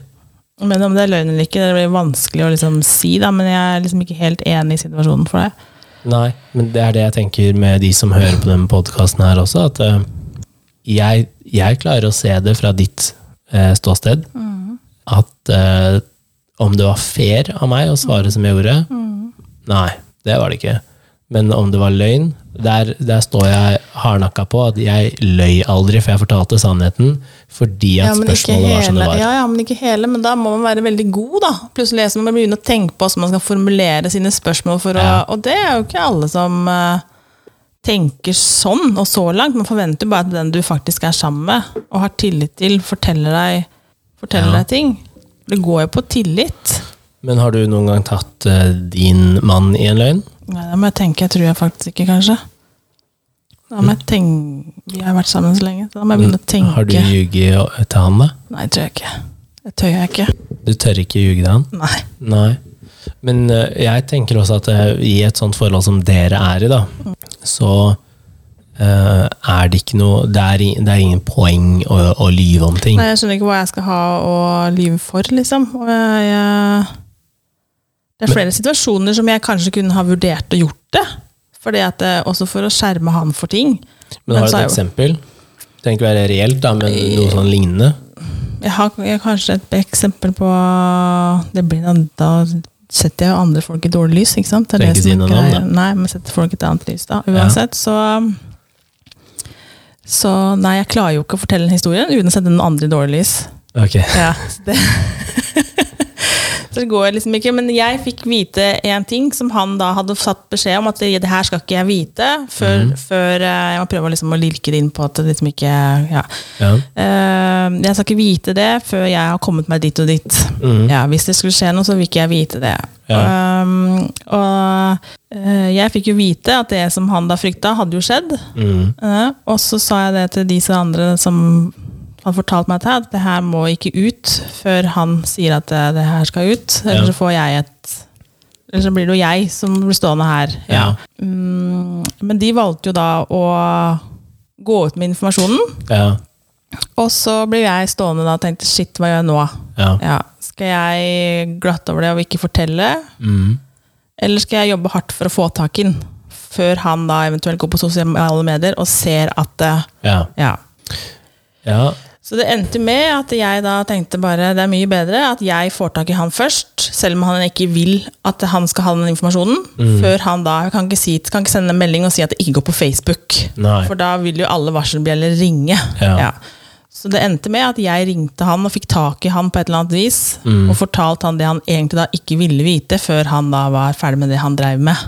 Speaker 2: Men om det er løgn eller ikke, det blir vanskelig å liksom si, da, men jeg er liksom ikke helt enig i situasjonen for det.
Speaker 1: Nei, men det er det jeg tenker med de som hører på denne podkasten her også, at eh, jeg, jeg klarer å se det fra ditt eh, ståsted. At eh, om det var fair av meg å svare som jeg gjorde Nei, det var det ikke. Men om det var løgn Der, der står jeg hardnakka på at jeg løy aldri, for jeg fortalte sannheten fordi at spørsmålet var som det var.
Speaker 2: ja, ja, men ikke hele, men da må man være veldig god, da. Plutselig så må man begynne å tenke på hvordan man skal formulere sine spørsmål, for å,
Speaker 1: Ja.
Speaker 2: og det er jo ikke alle som eh, tenker sånn og så langt. Man forventer jo bare at den du faktisk er sammen med og har tillit til, forteller deg, forteller
Speaker 1: Ja.
Speaker 2: deg ting. Det går jo på tillit.
Speaker 1: Men har du noen gang tatt eh, din mann i en løgn?
Speaker 2: Nei, det må jeg tenke. Jeg tror jeg faktisk ikke, kanskje. Da må jeg tenke Vi har vært sammen så lenge, så da må jeg begynne å tenke.
Speaker 1: Mm. Har du ljuget eh, til han, da?
Speaker 2: Nei, det tror jeg ikke. Det tør jeg ikke.
Speaker 1: Du tør ikke ljuge til han?
Speaker 2: Nei.
Speaker 1: Nei. Men eh, jeg tenker også at eh, i et sånt forhold som dere er i, da, så eh, er det ikke noe Det er, i- det er ingen poeng å, å lyve om ting.
Speaker 2: Nei, jeg skjønner ikke hva jeg skal ha å lyve for, liksom. Og jeg, jeg, det er flere situasjoner som jeg kanskje kunne ha vurdert og gjort det. Fordi at, det- også for å skjerme han for ting.
Speaker 1: men har du
Speaker 2: så er
Speaker 1: et
Speaker 2: jo-
Speaker 1: eksempel? Det trenger ikke være reelt, da, men noe sånn lignende?
Speaker 2: Jeg har, jeg har kanskje et eksempel på det blir da, da setter jeg jo andre folk i dårlig lys. ikke sant? Det
Speaker 1: Trenger
Speaker 2: det
Speaker 1: ikke
Speaker 2: som
Speaker 1: si noe
Speaker 2: er
Speaker 1: navn,
Speaker 2: greia.
Speaker 1: da.
Speaker 2: Nei, men setter folk i et annet lys da. Uansett, så Så nei, jeg klarer jo ikke å fortelle en historie uten å sette den andre i dårlig lys.
Speaker 1: Ok.
Speaker 2: Ja, [LAUGHS] så det [LAUGHS] Så det går liksom ikke, men jeg fikk vite en ting som han da hadde satt beskjed om at det her skal ikke jeg vite, før,
Speaker 1: Mhm.
Speaker 2: før eh, jeg må prøve liksom å lirke det inn på at det liksom ikke ja.
Speaker 1: Ja.
Speaker 2: Eh, jeg skal ikke vite det før jeg har kommet meg dit og dit.
Speaker 1: Mhm.
Speaker 2: Ja, hvis det skulle skje noe, så vil ikke jeg vite det.
Speaker 1: Ja.
Speaker 2: Um, og eh, jeg fikk jo vite at det som han da frykta, hadde jo skjedd.
Speaker 1: Mhm.
Speaker 2: Eh, og så sa jeg det til disse andre som har fortalt meg dette, at det her må ikke ut før han sier at eh, det, det her skal ut. Eller
Speaker 1: Ja.
Speaker 2: så får jeg et Eller så blir det jo jeg som blir stående her.
Speaker 1: Ja.
Speaker 2: Mm, men de valgte jo da å gå ut med informasjonen.
Speaker 1: Ja.
Speaker 2: Og så ble jeg stående da og tenkte shit, hva gjør jeg nå?
Speaker 1: Ja.
Speaker 2: Ja, skal jeg glatte over det og ikke fortelle?
Speaker 1: Mhm.
Speaker 2: Eller skal jeg jobbe hardt for å få tak i den? Før han da eventuelt går på sosiale medier og ser at eh,
Speaker 1: Ja.
Speaker 2: Ja.
Speaker 1: Ja.
Speaker 2: Så det endte med at jeg da tenkte bare det er mye bedre at jeg får tak i han først, selv om han ikke vil at han skal ha den informasjonen.
Speaker 1: Mm.
Speaker 2: Før han da jeg kan ikke, si, kan ikke sende en melding og si at det ikke går på Facebook.
Speaker 1: Nei.
Speaker 2: For da vil jo alle varselbjeller ringe.
Speaker 1: Ja.
Speaker 2: Så det endte med at jeg ringte han og fikk tak i han på et eller annet vis.
Speaker 1: Mm.
Speaker 2: Og fortalte han det han egentlig da ikke ville vite, før han da var ferdig med det han dreiv med.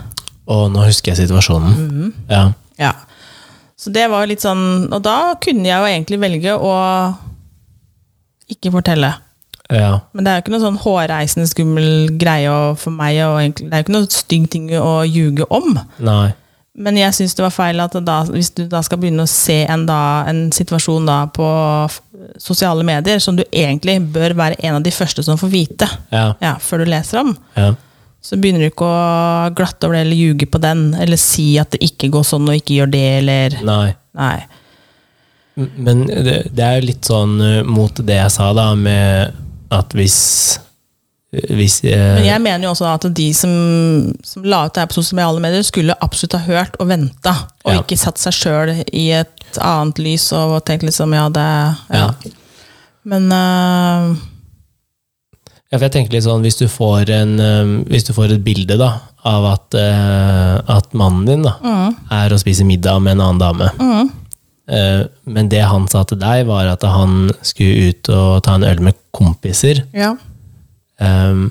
Speaker 1: Og nå husker jeg situasjonen.
Speaker 2: Mm.
Speaker 1: Ja.
Speaker 2: Ja. Så det var jo litt sånn Og da kunne jeg jo egentlig velge å ikke fortelle.
Speaker 1: Ja.
Speaker 2: Men det er jo ikke noe sånn hårreisende skummel greie å- for meg. Og egentlig, det er jo ikke noe stygg ting å ljuge om.
Speaker 1: Nei.
Speaker 2: Men jeg syns det var feil at da, hvis du da skal begynne å se en, da, en situasjon da på f- sosiale medier, som du egentlig bør være en av de første som får vite
Speaker 1: Ja.
Speaker 2: ja, før du leser om,
Speaker 1: Ja.
Speaker 2: så begynner du ikke å glatte over det eller ljuge på den, eller si at det ikke går sånn og ikke gjør det, eller
Speaker 1: Nei.
Speaker 2: Nei.
Speaker 1: Men det, det er jo litt sånn eh, mot det jeg sa, da, med at hvis Hvis
Speaker 2: Men
Speaker 1: eh,
Speaker 2: jeg mener jo også at de som, som la ut det her på sosiale medier, skulle absolutt ha hørt og venta, og
Speaker 1: Ja.
Speaker 2: ikke satt seg sjøl i et annet lys og tenkt liksom ja, det ja.
Speaker 1: Ja.
Speaker 2: Men øh,
Speaker 1: Ja, for jeg tenker litt sånn, hvis du får, en, eh, hvis du får et bilde da, av at, eh, at mannen din da,
Speaker 2: Mm.
Speaker 1: er og spiser middag med en annen dame, eh, men det han sa til deg var at han skulle ut og ta en øl med kompiser,
Speaker 2: ja.
Speaker 1: eh,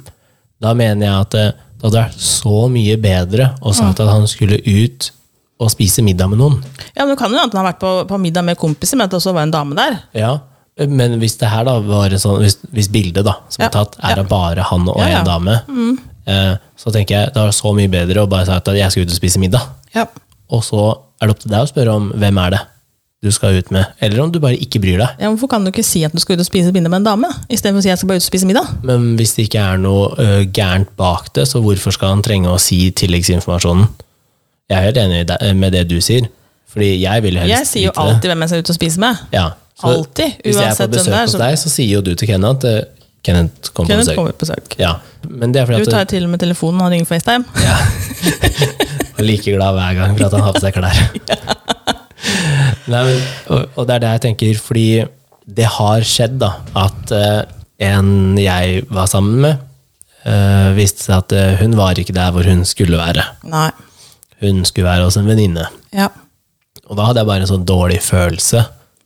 Speaker 1: da mener jeg at eh, det hadde vært så mye bedre å
Speaker 2: Mm.
Speaker 1: sagt at han skulle ut og spise middag med noen.
Speaker 2: Ja, men Det kan jo hende at han har vært på, på middag med kompiser, men at det også var en dame der.
Speaker 1: Ja, men hvis det her da var sånn, hvis, hvis bildet da, som
Speaker 2: Ja,
Speaker 1: er tatt, er av bare han og
Speaker 2: Ja, ja. Mm.
Speaker 1: en dame, eh, så tenker jeg det var så mye bedre å bare si at jeg skal ut og spise middag.
Speaker 2: Ja.
Speaker 1: Og så er det opp til deg å spørre om hvem er det du skal ut med, eller om du bare ikke bryr deg.
Speaker 2: Hvorfor kan du ikke si at du skal ut og spise middag med en dame, istedenfor å si at jeg skal bare ut og spise middag?
Speaker 1: Men hvis det ikke er noe ø, gærent bak det, så hvorfor skal han trenge å si tilleggsinformasjonen? Jeg er helt enig i deg- med det du sier, fordi jeg vil helst
Speaker 2: Jeg sier
Speaker 1: vite
Speaker 2: jo
Speaker 1: det.
Speaker 2: alltid hvem jeg skal ut og spise med.
Speaker 1: Ja.
Speaker 2: Alltid,
Speaker 1: Hvis jeg er på
Speaker 2: uansett hvem det
Speaker 1: besøk
Speaker 2: er,
Speaker 1: hos
Speaker 2: så-
Speaker 1: deg, så sier jo du til Kenneth at eh, Kenneth kom på
Speaker 2: Kenneth
Speaker 1: besøk.
Speaker 2: kommer på besøk.
Speaker 1: Ja, men det er
Speaker 2: Du
Speaker 1: fordi
Speaker 2: tar
Speaker 1: at
Speaker 2: jo til og med telefonen, han ringer FaceTime.
Speaker 1: du er like glad hver gang for at han har på seg
Speaker 2: [LAUGHS]
Speaker 1: klær. [LAUGHS] Nei, men, og, og det er det jeg tenker, fordi det har skjedd da, at eh, en jeg var sammen med, eh, viste seg at eh, hun var ikke der hvor hun skulle være.
Speaker 2: Nei.
Speaker 1: Hun skulle være hos en venninne.
Speaker 2: Ja.
Speaker 1: Og da hadde jeg bare en sånn dårlig følelse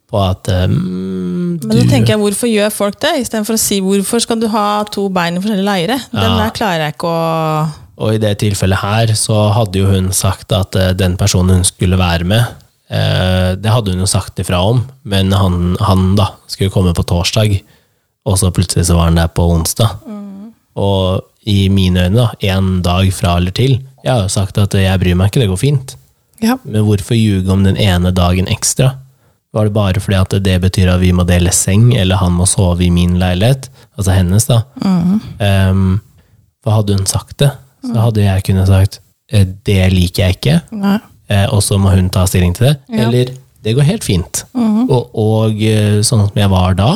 Speaker 1: på at eh, mm,
Speaker 2: Men da tenker jeg, hvorfor gjør folk det? Istedenfor å si hvorfor skal du ha to bein i forskjellige leire? Den der klarer jeg ikke å
Speaker 1: Og i det tilfellet her så hadde jo hun sagt at eh, den personen hun skulle være med, eh, det hadde hun jo sagt ifra om, men han, han da skulle komme på torsdag, og så plutselig så var han der på onsdag. Og i mine øyne, da, en dag fra eller til, jeg har jo sagt at eh, jeg bryr meg ikke, det går fint.
Speaker 2: Ja.
Speaker 1: Men hvorfor ljuge om den ene dagen ekstra? Var det bare fordi at det betyr at vi må dele seng, eller han må sove i min leilighet? Altså hennes, da. Ehm, for hadde hun sagt det, så hadde jeg kunnet sagt eh, det liker jeg ikke,
Speaker 2: Nei.
Speaker 1: eh, og så må hun ta stilling til det. Eller det går helt fint. Og, og eh, sånn som jeg var da,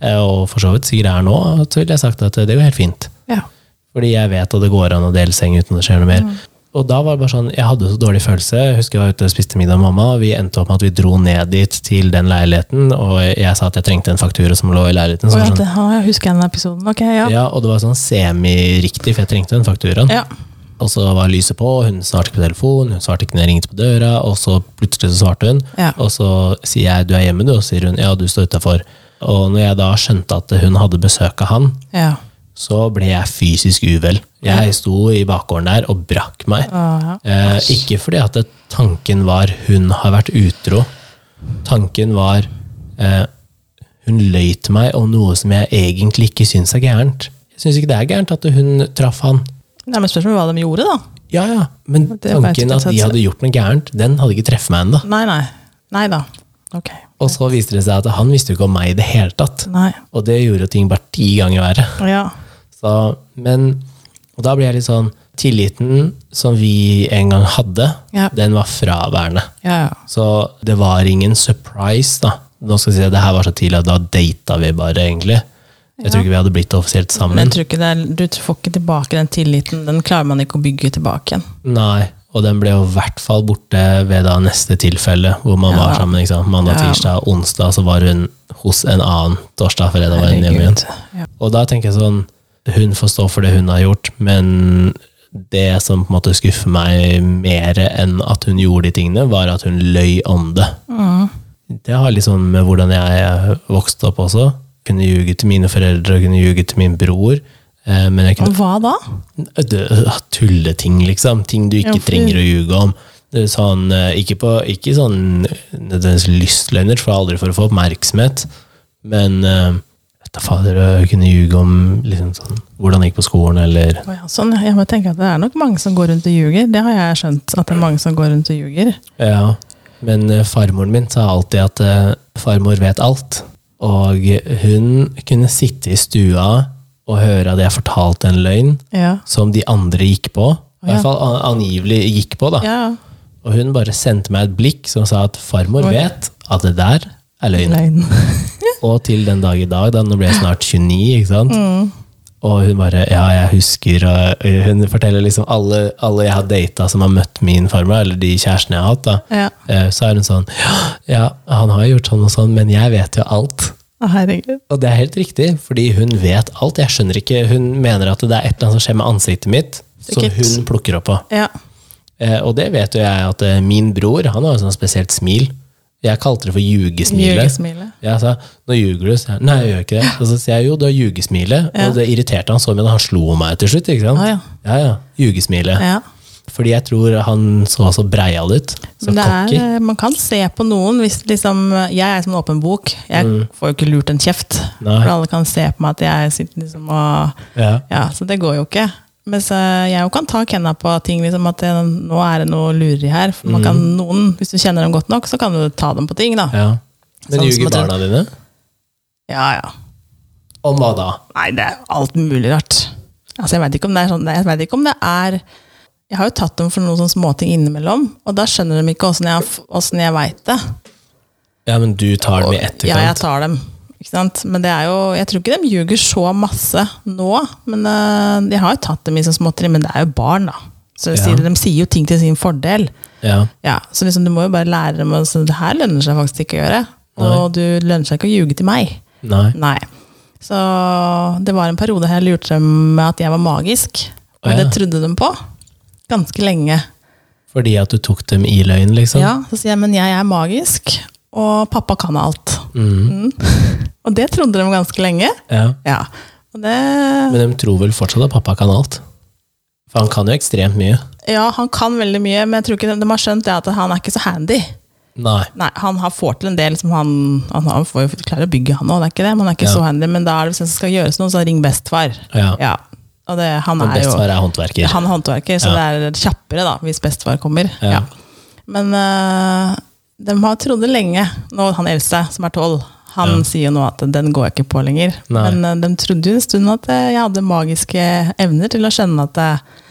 Speaker 1: eh, og for så vidt sikkert er nå, så ville jeg sagt at eh, det går helt fint.
Speaker 2: Ja. Mm.
Speaker 1: Fordi jeg vet at det går an å dele seng uten at det skjer noe mer. og da var det bare sånn, jeg hadde så dårlig følelse. Jeg husker jeg var ute og spiste middag med mamma, og vi endte opp med at vi dro ned dit til den leiligheten, og jeg sa at jeg trengte en faktura som lå i leiligheten. Så
Speaker 2: Å,
Speaker 1: var
Speaker 2: ja,
Speaker 1: det
Speaker 2: det, ja, jeg husker den episoden. Ok, Sånn, ja.
Speaker 1: sånn, ja, og det var sånn semi-riktig, for jeg trengte den fakturaen.
Speaker 2: ja.
Speaker 1: Og så var lyset på, hun svarte ikke på telefonen, hun svarte ikke når jeg ringte på døra, og så plutselig så svarte hun.
Speaker 2: Ja.
Speaker 1: Og så sier jeg 'du er hjemme', du, og så sier hun 'ja, du står utafor'. Og når jeg da skjønte at hun hadde besøk av han,
Speaker 2: ja.
Speaker 1: så ble jeg fysisk uvel. Jeg sto i bakgården der og brakk meg.
Speaker 2: Å,
Speaker 1: Eh, ikke fordi at det, tanken var hun har vært utro. Tanken var eh, hun løy til meg om noe som jeg egentlig ikke syns er gærent. Jeg syns ikke det er gærent at hun traff han.
Speaker 2: Nei, men spørsmålet var hva de gjorde, da.
Speaker 1: Ja, ja, men
Speaker 2: Det er bare
Speaker 1: tanken
Speaker 2: et
Speaker 1: at de
Speaker 2: tiltak.
Speaker 1: hadde gjort noe gærent, den hadde ikke treffet meg ennå.
Speaker 2: Nei, nei. Nei da. Ok.
Speaker 1: Og så viste det seg at han visste jo ikke om meg i det hele tatt.
Speaker 2: Nei.
Speaker 1: Og det gjorde jo ting bare ti ganger verre.
Speaker 2: Ja.
Speaker 1: Så, men, og da ble jeg litt sånn Tilliten som vi en gang hadde,
Speaker 2: Ja.
Speaker 1: den var fraværende.
Speaker 2: Ja, ja.
Speaker 1: Så det var ingen surprise, da. Nå skal jeg si at det her var så tidlig at da data vi bare, egentlig. Jeg tror ikke vi hadde blitt offisielt sammen.
Speaker 2: Men jeg tror ikke det er, du får ikke tilbake den tilliten. Den klarer man ikke å bygge tilbake igjen.
Speaker 1: Nei, og den ble jo i hvert fall borte ved da neste tilfelle, hvor man var sammen. ikke sant? Mandag,
Speaker 2: Ja.
Speaker 1: tirsdag, onsdag, så var hun hos en annen. Torsdag, fredag var hun hjemme igjen.
Speaker 2: Herregud. Ja.
Speaker 1: Og da tenker jeg sånn, hun får stå for det hun har gjort, men det som på en måte skuffer meg mer enn at hun gjorde de tingene, var at hun løy om det. Det har litt sånn med hvordan jeg vokste opp også. Kunne ljuge til mine foreldre og kunne ljuge til min bror. eh, Men jeg kunne
Speaker 2: Og hva da?
Speaker 1: det- øh, tulleting, liksom. Ting du
Speaker 2: Ja,
Speaker 1: ikke
Speaker 2: for-
Speaker 1: trenger å ljuge om. Det er sånn, eh, ikke, på, ikke sånn nødvendigvis lystløgner, for det er aldri for å få oppmerksomhet, men eh, vet da fader å kunne ljuge om liksom sånn, hvordan det gikk på skolen, eller
Speaker 2: Å ja, sånn, jeg må tenke at Det er nok mange som går rundt og ljuger. Det har jeg skjønt. at det er mange som går rundt og ljuger.
Speaker 1: Ja. Men eh, farmoren min sa alltid at eh, farmor vet alt. Og hun kunne sitte i stua og høre at jeg fortalte en løgn
Speaker 2: Ja.
Speaker 1: som de andre gikk på. I
Speaker 2: Ja.
Speaker 1: hvert fall an- angivelig gikk på, da.
Speaker 2: ja.
Speaker 1: Og hun bare sendte meg et blikk som sa at farmor
Speaker 2: Oi.
Speaker 1: vet at det der er løgn.
Speaker 2: Løgn.
Speaker 1: Og til den dag i dag, da nå ble jeg snart 29, ikke sant?
Speaker 2: Mm.
Speaker 1: Og hun bare Ja, jeg husker og Hun forteller liksom alle, alle jeg har data som har møtt min farmor, eller de kjærestene jeg har hatt, da.
Speaker 2: Ja.
Speaker 1: eh, Så er hun sånn Ja, han har gjort sånn og sånn, men jeg vet jo alt.
Speaker 2: [LAUGHS] Å, Herregud.
Speaker 1: Og det er helt riktig, fordi hun vet alt. Jeg skjønner ikke, Hun mener at det er et eller annet som skjer med ansiktet mitt, som
Speaker 2: Sikkert.
Speaker 1: hun plukker opp på.
Speaker 2: Ja.
Speaker 1: Eh, og det vet jo jeg at eh, min bror, han har jo sånn spesielt smil. Jeg kalte det for jugesmilet.
Speaker 2: Ljugesmilet.
Speaker 1: Jeg sa, nå ljuger du, sa jeg. Nei, jeg gjør ikke det. Og så sier jeg jo, du har jugesmilet.
Speaker 2: Ja.
Speaker 1: Og det irriterte han så mye, at han slo meg til slutt, ikke sant?
Speaker 2: Ah, ja.
Speaker 1: ja, ja. Jugesmilet.
Speaker 2: Ja.
Speaker 1: Fordi jeg tror han så så breial ut. Så
Speaker 2: Men det
Speaker 1: cocky.
Speaker 2: er, eh, man kan se på noen hvis liksom, Jeg er som en åpen bok. Jeg får jo ikke lurt en kjeft.
Speaker 1: Mm. Nei.
Speaker 2: For alle kan se på meg at jeg sitter liksom og
Speaker 1: Ja.
Speaker 2: Ja, så det går jo ikke. Mens eh, jeg jo kan ta kjenna på ting, liksom at det, nå er det noe lureri her. For
Speaker 1: Mm.
Speaker 2: man kan noen, Hvis du kjenner dem godt nok, så kan du ta dem på ting, da.
Speaker 1: ja. Men
Speaker 2: Sånn som
Speaker 1: ljuger
Speaker 2: at du-
Speaker 1: barna dine?
Speaker 2: Ja, ja.
Speaker 1: Om hva da?
Speaker 2: Nei, det er alt mulig rart. Altså, jeg veit ikke om det er sånn Jeg vet ikke om det er Jeg har jo tatt dem for noen sånne småting innimellom, og da skjønner de ikke åssen jeg, har f- hvordan jeg veit det.
Speaker 1: Ja, men du tar dem i
Speaker 2: Ja, jeg
Speaker 1: etterkant.
Speaker 2: tar dem. Ikke sant? Men det er jo, jeg tror ikke de ljuger så masse nå. Men eh, jeg har jo tatt dem i sånn småtteri, men det er jo barn, da. Så
Speaker 1: Ja.
Speaker 2: sier, de sier jo ting til sin fordel.
Speaker 1: Ja.
Speaker 2: Ja, så liksom, du må jo bare lære dem at det her lønner seg faktisk ikke å gjøre. Og du lønner seg ikke å ljuge til meg.
Speaker 1: Nei.
Speaker 2: Nei. Så det var en periode her jeg lurte dem med at jeg var magisk.
Speaker 1: Å,
Speaker 2: Og
Speaker 1: ja.
Speaker 2: det trodde de på. Ganske lenge.
Speaker 1: Fordi at du tok dem i løgn, liksom?
Speaker 2: Ja, så sier jeg, men jeg er magisk, og pappa kan alt. Mm. [LAUGHS] og det trodde de ganske lenge.
Speaker 1: Ja.
Speaker 2: Ja. Og det,
Speaker 1: Men de tror vel fortsatt at pappa kan alt? For han kan jo ekstremt mye.
Speaker 2: ja, han kan veldig mye, men jeg tror ikke de, de har skjønt det at han er ikke så handy.
Speaker 1: Nei.
Speaker 2: Nei, han har får til en del som han, han, han får jo klare å bygge han òg, det er ikke det. Men han er ikke
Speaker 1: Ja.
Speaker 2: så handy. Men da er det hvis det skal gjøres noe, så ring bestefar.
Speaker 1: Ja.
Speaker 2: Ja. Og det, han
Speaker 1: Og
Speaker 2: er jo
Speaker 1: bestefar er håndverker.
Speaker 2: han er håndverker, så det er kjappere da, hvis bestefar kommer.
Speaker 1: Ja.
Speaker 2: Ja. Men øh, de har trodd det lenge. Nå han eldste, som er tolv, han sier jo nå at den går jeg ikke på lenger.
Speaker 1: Nei.
Speaker 2: Men øh, de trodde jo en stund at øh, jeg hadde magiske evner til å skjønne at øh,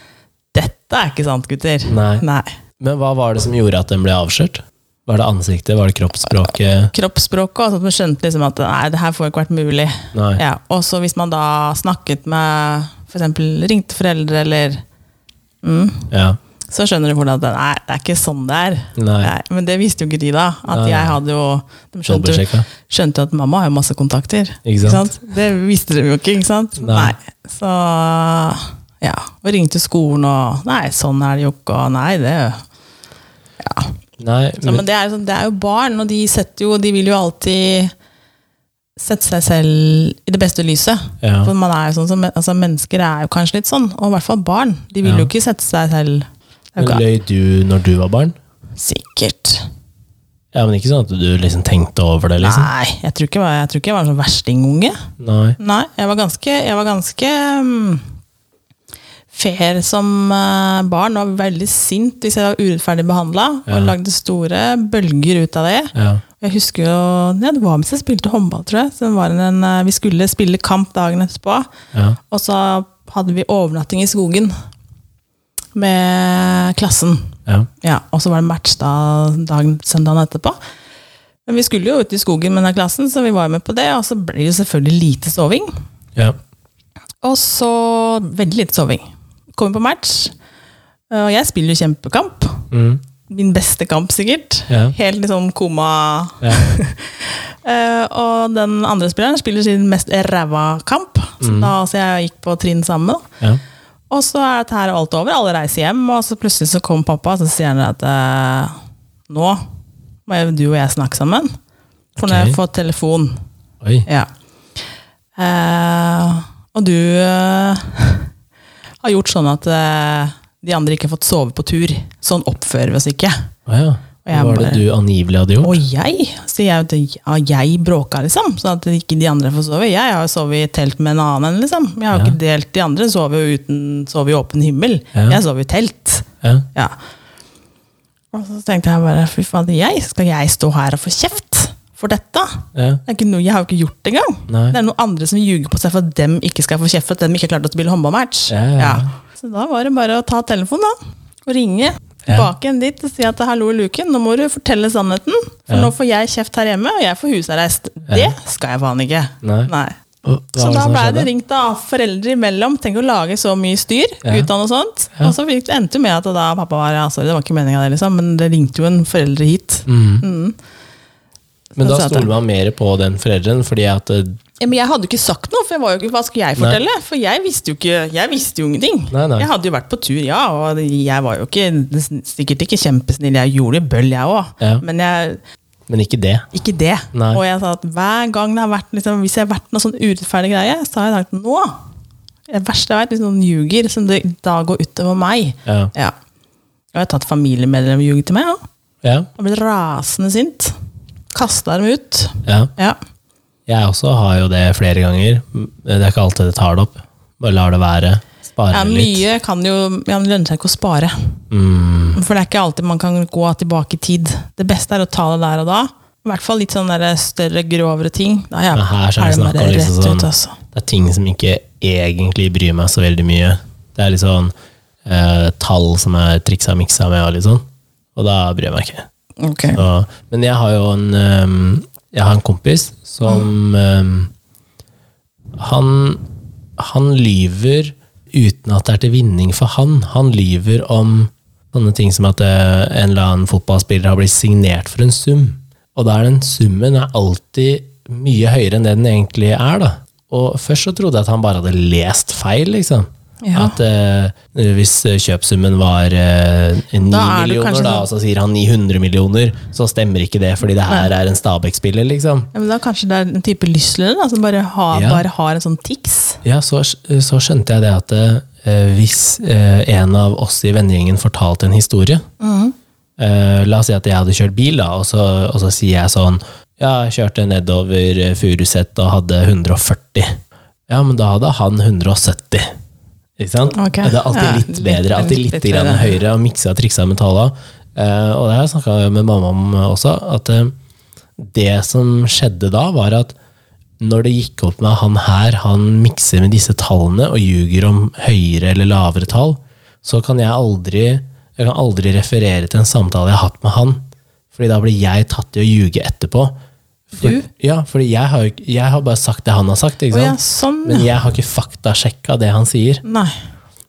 Speaker 2: dette er ikke sant, gutter.
Speaker 1: Nei. Men hva var det som gjorde at den ble avslørt? Var det ansiktet? Var det kroppsspråket?
Speaker 2: Kroppsspråket, altså at man skjønte liksom at nei, det her får ikke vært mulig.
Speaker 1: Nei.
Speaker 2: Ja. Og så hvis man da snakket med, for eksempel ringte foreldre eller mm,
Speaker 1: Ja.
Speaker 2: så skjønner du hvordan det er. Det er ikke sånn det er.
Speaker 1: Nei.
Speaker 2: Det er- men det visste jo ikke de, da. At
Speaker 1: Nei.
Speaker 2: jeg hadde jo De skjønte, jo-
Speaker 1: Dobbeltsjekka.
Speaker 2: skjønte at mamma har jo masse kontakter.
Speaker 1: Ikke sant?
Speaker 2: Det visste de jo ikke, ikke sant?
Speaker 1: Nei.
Speaker 2: Så ja. Og ringte skolen og Nei, sånn er det jo ikke, og nei, det Ja.
Speaker 1: Nei,
Speaker 2: Så, men det er, jo sånn- det er jo barn, og de setter jo De vil jo alltid sette seg selv i det beste lyset.
Speaker 1: Ja.
Speaker 2: For man er jo sånn som, altså Mennesker er jo kanskje litt sånn, og i hvert fall barn. De vil
Speaker 1: Ja.
Speaker 2: jo ikke sette seg selv Det er jo
Speaker 1: men
Speaker 2: ikke-
Speaker 1: løy du når du var barn?
Speaker 2: Sikkert.
Speaker 1: Ja, men ikke sånn at du liksom tenkte over det, liksom?
Speaker 2: Nei, jeg tror, ikke, jeg var- jeg tror ikke jeg var en sånn verstingunge.
Speaker 1: Nei.
Speaker 2: Nei, jeg var ganske, jeg var ganske mm, fair som eh, barn. og var veldig sint hvis jeg var urettferdig behandla, og lagde store bølger ut av det.
Speaker 1: Ja.
Speaker 2: Jeg husker jo, ja, Det var mens jeg spilte håndball, tror jeg. Så det var en, eh, vi skulle spille kamp dagen etterpå.
Speaker 1: ja.
Speaker 2: Og så hadde vi overnatting i skogen med klassen.
Speaker 1: ja.
Speaker 2: Ja, og så var det match da dagen, søndagen etterpå. Men Vi skulle jo ut i skogen med denne klassen, så vi var jo med på det. Og så ble det jo selvfølgelig lite soving.
Speaker 1: ja.
Speaker 2: Og så veldig lite soving. Kommer på match, eh, og jeg spiller jo kjempekamp.
Speaker 1: Mm.
Speaker 2: Min beste kamp, sikkert.
Speaker 1: Ja.
Speaker 2: Helt litt sånn koma
Speaker 1: ja.
Speaker 2: [LAUGHS] Eh, og den andre spilleren spiller sin mest ræva kamp. Så
Speaker 1: Mm.
Speaker 2: da, så jeg gikk på trinn sammen. da.
Speaker 1: ja.
Speaker 2: Og så er dette her alt over, alle reiser hjem, og så plutselig så kommer pappa og så sier han at eh, nå må jeg, du og jeg snakke sammen. For nå har jeg
Speaker 1: Ok.
Speaker 2: fått telefon.
Speaker 1: Oi.
Speaker 2: Ja. Eh, og du eh, [LAUGHS] har gjort sånn at eh, de andre ikke har fått sove på tur. Sånn oppfører vi oss ikke.
Speaker 1: Å ja. Hva
Speaker 2: jeg
Speaker 1: var det
Speaker 2: bare-
Speaker 1: du angivelig hadde gjort?
Speaker 2: Og jeg, sier jeg, at ja, jeg bråka, liksom. Sånn at ikke de andre får sove. Jeg har jo sovet i telt med en annen, liksom. Jeg har
Speaker 1: Ja.
Speaker 2: jo ikke delt de andre. Sover jo uten, sover i åpen himmel.
Speaker 1: Ja.
Speaker 2: Jeg sover i telt.
Speaker 1: Ja.
Speaker 2: Ja. Og så tenkte jeg bare, fy fader, jeg, skal jeg stå her og få kjeft for dette?
Speaker 1: ja.
Speaker 2: Det er ikke noe, jeg har jo ikke gjort det engang.
Speaker 1: Nei.
Speaker 2: Det er noen andre som ljuger på seg for at dem ikke skal få kjeft for at dem ikke klarte å spille håndballmatch.
Speaker 1: Ja, ja, ja.
Speaker 2: Så da var det bare å ta telefonen da, og ringe
Speaker 1: Ja.
Speaker 2: tilbake igjen dit og si at hallo, Luken, nå må du fortelle sannheten. For
Speaker 1: Ja.
Speaker 2: nå får jeg kjeft her hjemme, og jeg får husarrest. Det skal jeg faen ikke.
Speaker 1: Nei. Og hva
Speaker 2: Så
Speaker 1: var det
Speaker 2: da
Speaker 1: som
Speaker 2: ble det
Speaker 1: skjedde?
Speaker 2: ringt av foreldre imellom. Tenk å lage så mye styr.
Speaker 1: Ja.
Speaker 2: Utdanne og sånt. Og så fikk- endte det med at da pappa var ja, sorry, det var ikke meningen det, liksom, men det ringte jo en foreldre hit.
Speaker 1: Men
Speaker 2: Så
Speaker 1: da
Speaker 2: sa jeg at-
Speaker 1: stoler man mer på den foreldren, fordi at eh,
Speaker 2: Ja, Men jeg hadde jo ikke sagt noe, for jeg var jo ikke, hva skulle jeg fortelle? For jeg visste jo ikke, jeg visste jo ingenting.
Speaker 1: Nei, nei.
Speaker 2: Jeg hadde jo vært på tur, ja, og jeg var jo ikke, sikkert ikke kjempesnill. Jeg gjorde bøll, jeg òg.
Speaker 1: Ja.
Speaker 2: Men jeg,
Speaker 1: Men ikke det.
Speaker 2: ikke det.
Speaker 1: Nei.
Speaker 2: Og jeg sa at hver gang det har vært, liksom, hvis jeg har vært noe sånn urettferdig greie, så har jeg sagt nå. Det verste jeg vet, hvis noen ljuger, som det da går utover meg.
Speaker 1: Ja.
Speaker 2: Ja. Og jeg har tatt familiemedlemmer og ljuger til meg, ja.
Speaker 1: Ja.
Speaker 2: Jeg har blitt rasende sint. Kasta dem ut.
Speaker 1: ja.
Speaker 2: Ja.
Speaker 1: Jeg også har jo det flere ganger. eh, Det er ikke alltid jeg tar det opp. Bare lar det være. Sparer
Speaker 2: Ja,
Speaker 1: litt. Mm.
Speaker 2: mye kan jo ja, det lønner seg ikke å spare. For det er ikke alltid man kan gå tilbake i tid. Det beste er å ta det der og da. I hvert fall litt sånne der større, grovere ting. Da er jeg-
Speaker 1: Men her så er det
Speaker 2: er det
Speaker 1: snakk
Speaker 2: bare
Speaker 1: om
Speaker 2: rett
Speaker 1: liksom
Speaker 2: ut,
Speaker 1: sånn
Speaker 2: altså.
Speaker 1: Det er ting som ikke egentlig bryr meg så veldig mye. Det er litt sånn eh, tall som er triksa og miksa med, og litt sånn. Og da bryr jeg meg ikke.
Speaker 2: Ok.
Speaker 1: Så, men jeg har jo en ehm, Jeg har en kompis som ehm, han, han lyver uten at det er til vinning for han. Han lyver om sånne ting som at eh, en eller annen fotballspiller har blitt signert for en sum. Og da er den summen er alltid mye høyere enn det den egentlig er. da. Og først så trodde jeg at han bare hadde lest feil, liksom.
Speaker 2: Ja.
Speaker 1: At eh, hvis eh, kjøpsummen var eh, 9
Speaker 2: Da er det
Speaker 1: millioner,
Speaker 2: kanskje
Speaker 1: da,
Speaker 2: sånn-
Speaker 1: og så sier han 900 millioner, så stemmer ikke det, fordi det her er en Stabæk-spiller, liksom.
Speaker 2: Ja, men da kanskje det er en type lystlønn da, som bare, har-
Speaker 1: Ja.
Speaker 2: bare har en sånn tics.
Speaker 1: Ja, så, så skjønte jeg det at eh, hvis eh, en av oss i vennegjengen fortalte en historie,
Speaker 2: Mhm.
Speaker 1: eh, la oss si at jeg hadde kjørt bil, da, og så, og så sier jeg sånn, ja, jeg kjørte nedover eh, Furuset og hadde 140. Ja, men da hadde han 170. Ikke sant?
Speaker 2: Ok.
Speaker 1: Det er alltid
Speaker 2: Ja,
Speaker 1: litt
Speaker 2: litt-
Speaker 1: bedre, alltid
Speaker 2: litt
Speaker 1: litt, grann
Speaker 2: bedre.
Speaker 1: høyere, og miksa og triksa med tallene. Eh, og det har jeg snakka med mamma om også, at eh, det som skjedde da, var at når det gikk opp med at han her, han mikser med disse tallene og ljuger om høyere eller lavere tall, så kan jeg aldri, jeg kan aldri referere til en samtale jeg har hatt med han. Fordi da blir jeg tatt i å ljuge etterpå. For,
Speaker 2: Du?
Speaker 1: ja, fordi jeg har, jo ikke- jeg har bare sagt det han har sagt, ikke
Speaker 2: Å ja,
Speaker 1: sant?
Speaker 2: sånn.
Speaker 1: Men jeg har ikke faktasjekka det han sier.
Speaker 2: Nei.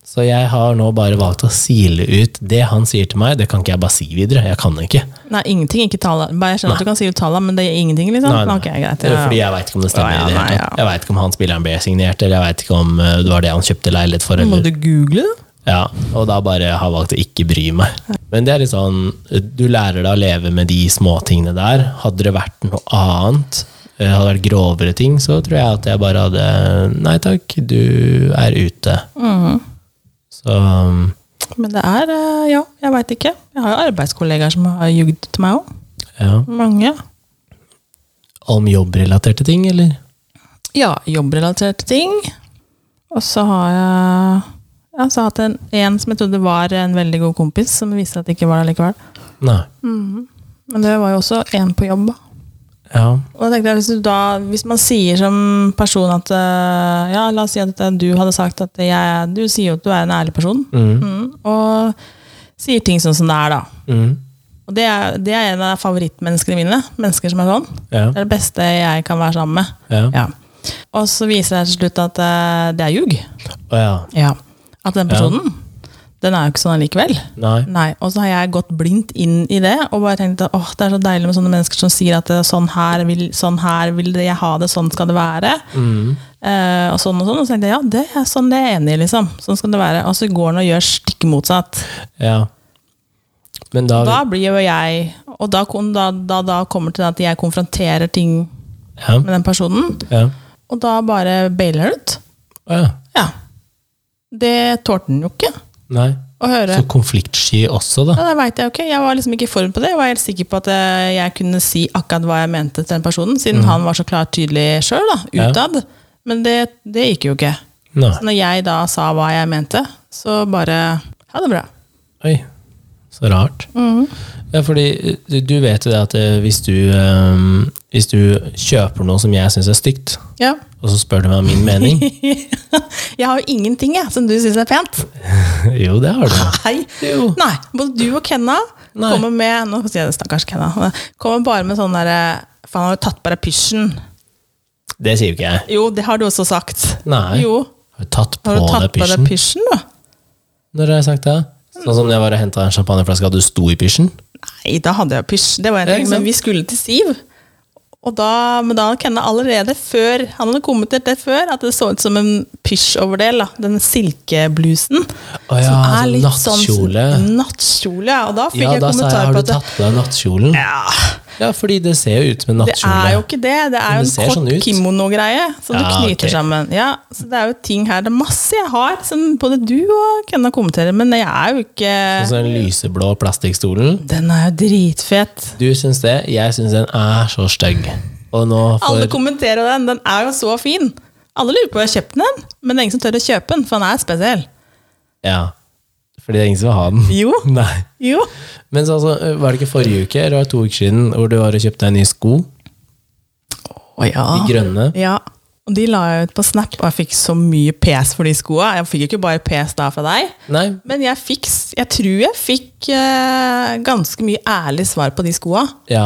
Speaker 1: Så Så jeg har nå bare valgt å sile ut det han sier til meg. Det kan ikke jeg bare si videre. Jeg kan ikke.
Speaker 2: Nei, ingenting. Ikke tala. Bare Jeg skjønner at du kan si ut tala, men det er ingenting, liksom?
Speaker 1: Nei, nei.
Speaker 2: Ok, greit.
Speaker 1: Det er
Speaker 2: Ja,
Speaker 1: Fordi
Speaker 2: ja.
Speaker 1: jeg veit ikke om det stemmer.
Speaker 2: Ja, ja,
Speaker 1: i det
Speaker 2: nei,
Speaker 1: hele
Speaker 2: ja.
Speaker 1: tatt. Jeg veit ikke om han spilleren ble signert, eller jeg veit ikke om eh, det var det han kjøpte leilighet for.
Speaker 2: Må
Speaker 1: Eller.
Speaker 2: du google det?
Speaker 1: Ja, og da bare har valgt å ikke bry meg. Men det er litt sånn, du lærer deg å leve med de småtingene der. Hadde det vært noe annet, eh, hadde det vært grovere ting, så tror jeg at jeg bare hadde Nei takk, du er ute.
Speaker 2: Mhm.
Speaker 1: Så
Speaker 2: Men det er eh, Ja, jeg veit ikke. Jeg har jo arbeidskollegaer som har jugd til meg òg.
Speaker 1: ja.
Speaker 2: Mange.
Speaker 1: Om jobbrelaterte ting, eller?
Speaker 2: Ja, jobbrelaterte ting. Og så har jeg ja, så har jeg hatt en, en som jeg trodde var en veldig god kompis, som viste at det ikke var det likevel.
Speaker 1: Nei.
Speaker 2: Men det var jo også en på jobb. da.
Speaker 1: Ja.
Speaker 2: Og da tenkte jeg, hvis, du da, hvis man sier som person at eh, Ja, la oss si at eh, du hadde sagt at jeg, du sier jo at du er en ærlig person,
Speaker 1: Mm.
Speaker 2: mm, og sier ting sånn som det er, da.
Speaker 1: Mm.
Speaker 2: Og det er, det er en av favorittmenneskene mine. Mennesker som er sånn.
Speaker 1: Ja.
Speaker 2: Det er det beste jeg kan være sammen med.
Speaker 1: Ja.
Speaker 2: Ja. Og så viser det seg til slutt at eh, det er ljug.
Speaker 1: Å ja.
Speaker 2: At den personen, den er jo ikke sånn allikevel.
Speaker 1: Nei.
Speaker 2: Nei, Og så har jeg gått blindt inn i det og bare tenkt at åh, det er så deilig med sånne mennesker som sier at eh, sånn her vil, sånn her vil det- jeg ha det, sånn skal det være. Eh, og sånn og sånn. Og så tenkte jeg ja, det er sånn det er jeg enig i, liksom. Sånn skal det være. Og så går han og gjør stikk motsatt.
Speaker 1: Ja. Men da,
Speaker 2: Da blir jo jeg Og da, kom- da, da, da kommer det til at jeg konfronterer ting
Speaker 1: Ja.
Speaker 2: med den personen,
Speaker 1: Ja.
Speaker 2: og da bare bailer han ut.
Speaker 1: Å ja.
Speaker 2: Ja. Det tålte han jo ikke
Speaker 1: Nei.
Speaker 2: å høre.
Speaker 1: Så konfliktsky også, da.
Speaker 2: Ja, det vet Jeg jo ikke. Jeg var liksom ikke i form på det. Jeg var helt sikker på at eh, jeg kunne si akkurat hva jeg mente til den personen, siden han var så klart tydelig sjøl,
Speaker 1: Mm. Ja.
Speaker 2: utad. Men det, det gikk jo ikke.
Speaker 1: Nei.
Speaker 2: Så når jeg da sa hva jeg mente, så bare Ha det bra.
Speaker 1: Oi, så rart.
Speaker 2: Mhm.
Speaker 1: Ja, fordi du- du vet jo det at eh, hvis du, eh, hvis du kjøper noe som jeg syns er stygt,
Speaker 2: Ja. [LAUGHS]
Speaker 1: og så spør du meg om min mening [LAUGHS]
Speaker 2: jeg har jo ingenting jeg, som du syns er pent.
Speaker 1: Jo, det har du.
Speaker 2: Nei.
Speaker 1: Jo.
Speaker 2: Nei, både du og Kenna
Speaker 1: Nei.
Speaker 2: kommer med Nå sier jeg det, stakkars Kenna. Kommer bare med sånn derre For han har jo tatt bare pysjen.
Speaker 1: Det sier jo ikke jeg.
Speaker 2: Jo, det har du også sagt.
Speaker 1: Nei.
Speaker 2: Jo.
Speaker 1: Har du tatt på
Speaker 2: Har du
Speaker 1: deg
Speaker 2: tatt på deg
Speaker 1: pysjen?
Speaker 2: pysjen, da?
Speaker 1: Når har jeg sagt det? Sånn som jeg var og henta en champagneflaske, og du sto i pysjen?
Speaker 2: Nei, da hadde jeg jo pysj. Det var en
Speaker 1: Ja,
Speaker 2: ting,
Speaker 1: ikke sant?
Speaker 2: men vi skulle til Siv. Og da, men da hadde Kenna allerede før Han hadde kommentert det før, at det så ut som en pysjoverdel. da. Den silkeblusen.
Speaker 1: Å ja,
Speaker 2: som er
Speaker 1: sånn
Speaker 2: litt
Speaker 1: nattkjole.
Speaker 2: sånn Nattkjole, ja. Og da fikk
Speaker 1: Ja,
Speaker 2: jeg
Speaker 1: da sa jeg
Speaker 2: kommentar
Speaker 1: har
Speaker 2: på
Speaker 1: du
Speaker 2: at det,
Speaker 1: tatt på deg nattkjolen?
Speaker 2: ja,
Speaker 1: Ja, fordi det ser jo ut som en
Speaker 2: det er jo
Speaker 1: nattkjole.
Speaker 2: ikke det. Det
Speaker 1: Men
Speaker 2: er jo
Speaker 1: det
Speaker 2: en
Speaker 1: ser
Speaker 2: kort
Speaker 1: sånn ut.
Speaker 2: kimono-greie som du
Speaker 1: Ja,
Speaker 2: knyter
Speaker 1: ok.
Speaker 2: sammen. Ja, så det er jo ting her. Det er masse jeg har, som både du og Kenna kommenterer, men jeg er jo ikke
Speaker 1: Og så den Altså lyseblå plastikkstolen.
Speaker 2: Den er jo dritfet.
Speaker 1: Du syns det, jeg syns den er så stygg. Og nå får
Speaker 2: Alle kommenterer den. Den er jo så fin. Alle lurer på om jeg har kjøpt den, men det er ingen som tør å kjøpe den, for han er spesiell.
Speaker 1: Ja. Fordi det er ingen som vil ha den.
Speaker 2: Jo.
Speaker 1: [LAUGHS] Nei.
Speaker 2: Jo.
Speaker 1: Men så altså, var det ikke forrige uke eller var det to uker siden hvor du var og kjøpte deg nye sko?
Speaker 2: Å ja.
Speaker 1: De grønne.
Speaker 2: Ja. Og de la jeg ut på Snap, og jeg fikk så mye pes for de skoa. Jeg fikk jo ikke bare pes da fra deg,
Speaker 1: Nei.
Speaker 2: men jeg fikk, s- jeg tror jeg fikk eh, ganske mye ærlig svar på de skoa.
Speaker 1: Ja.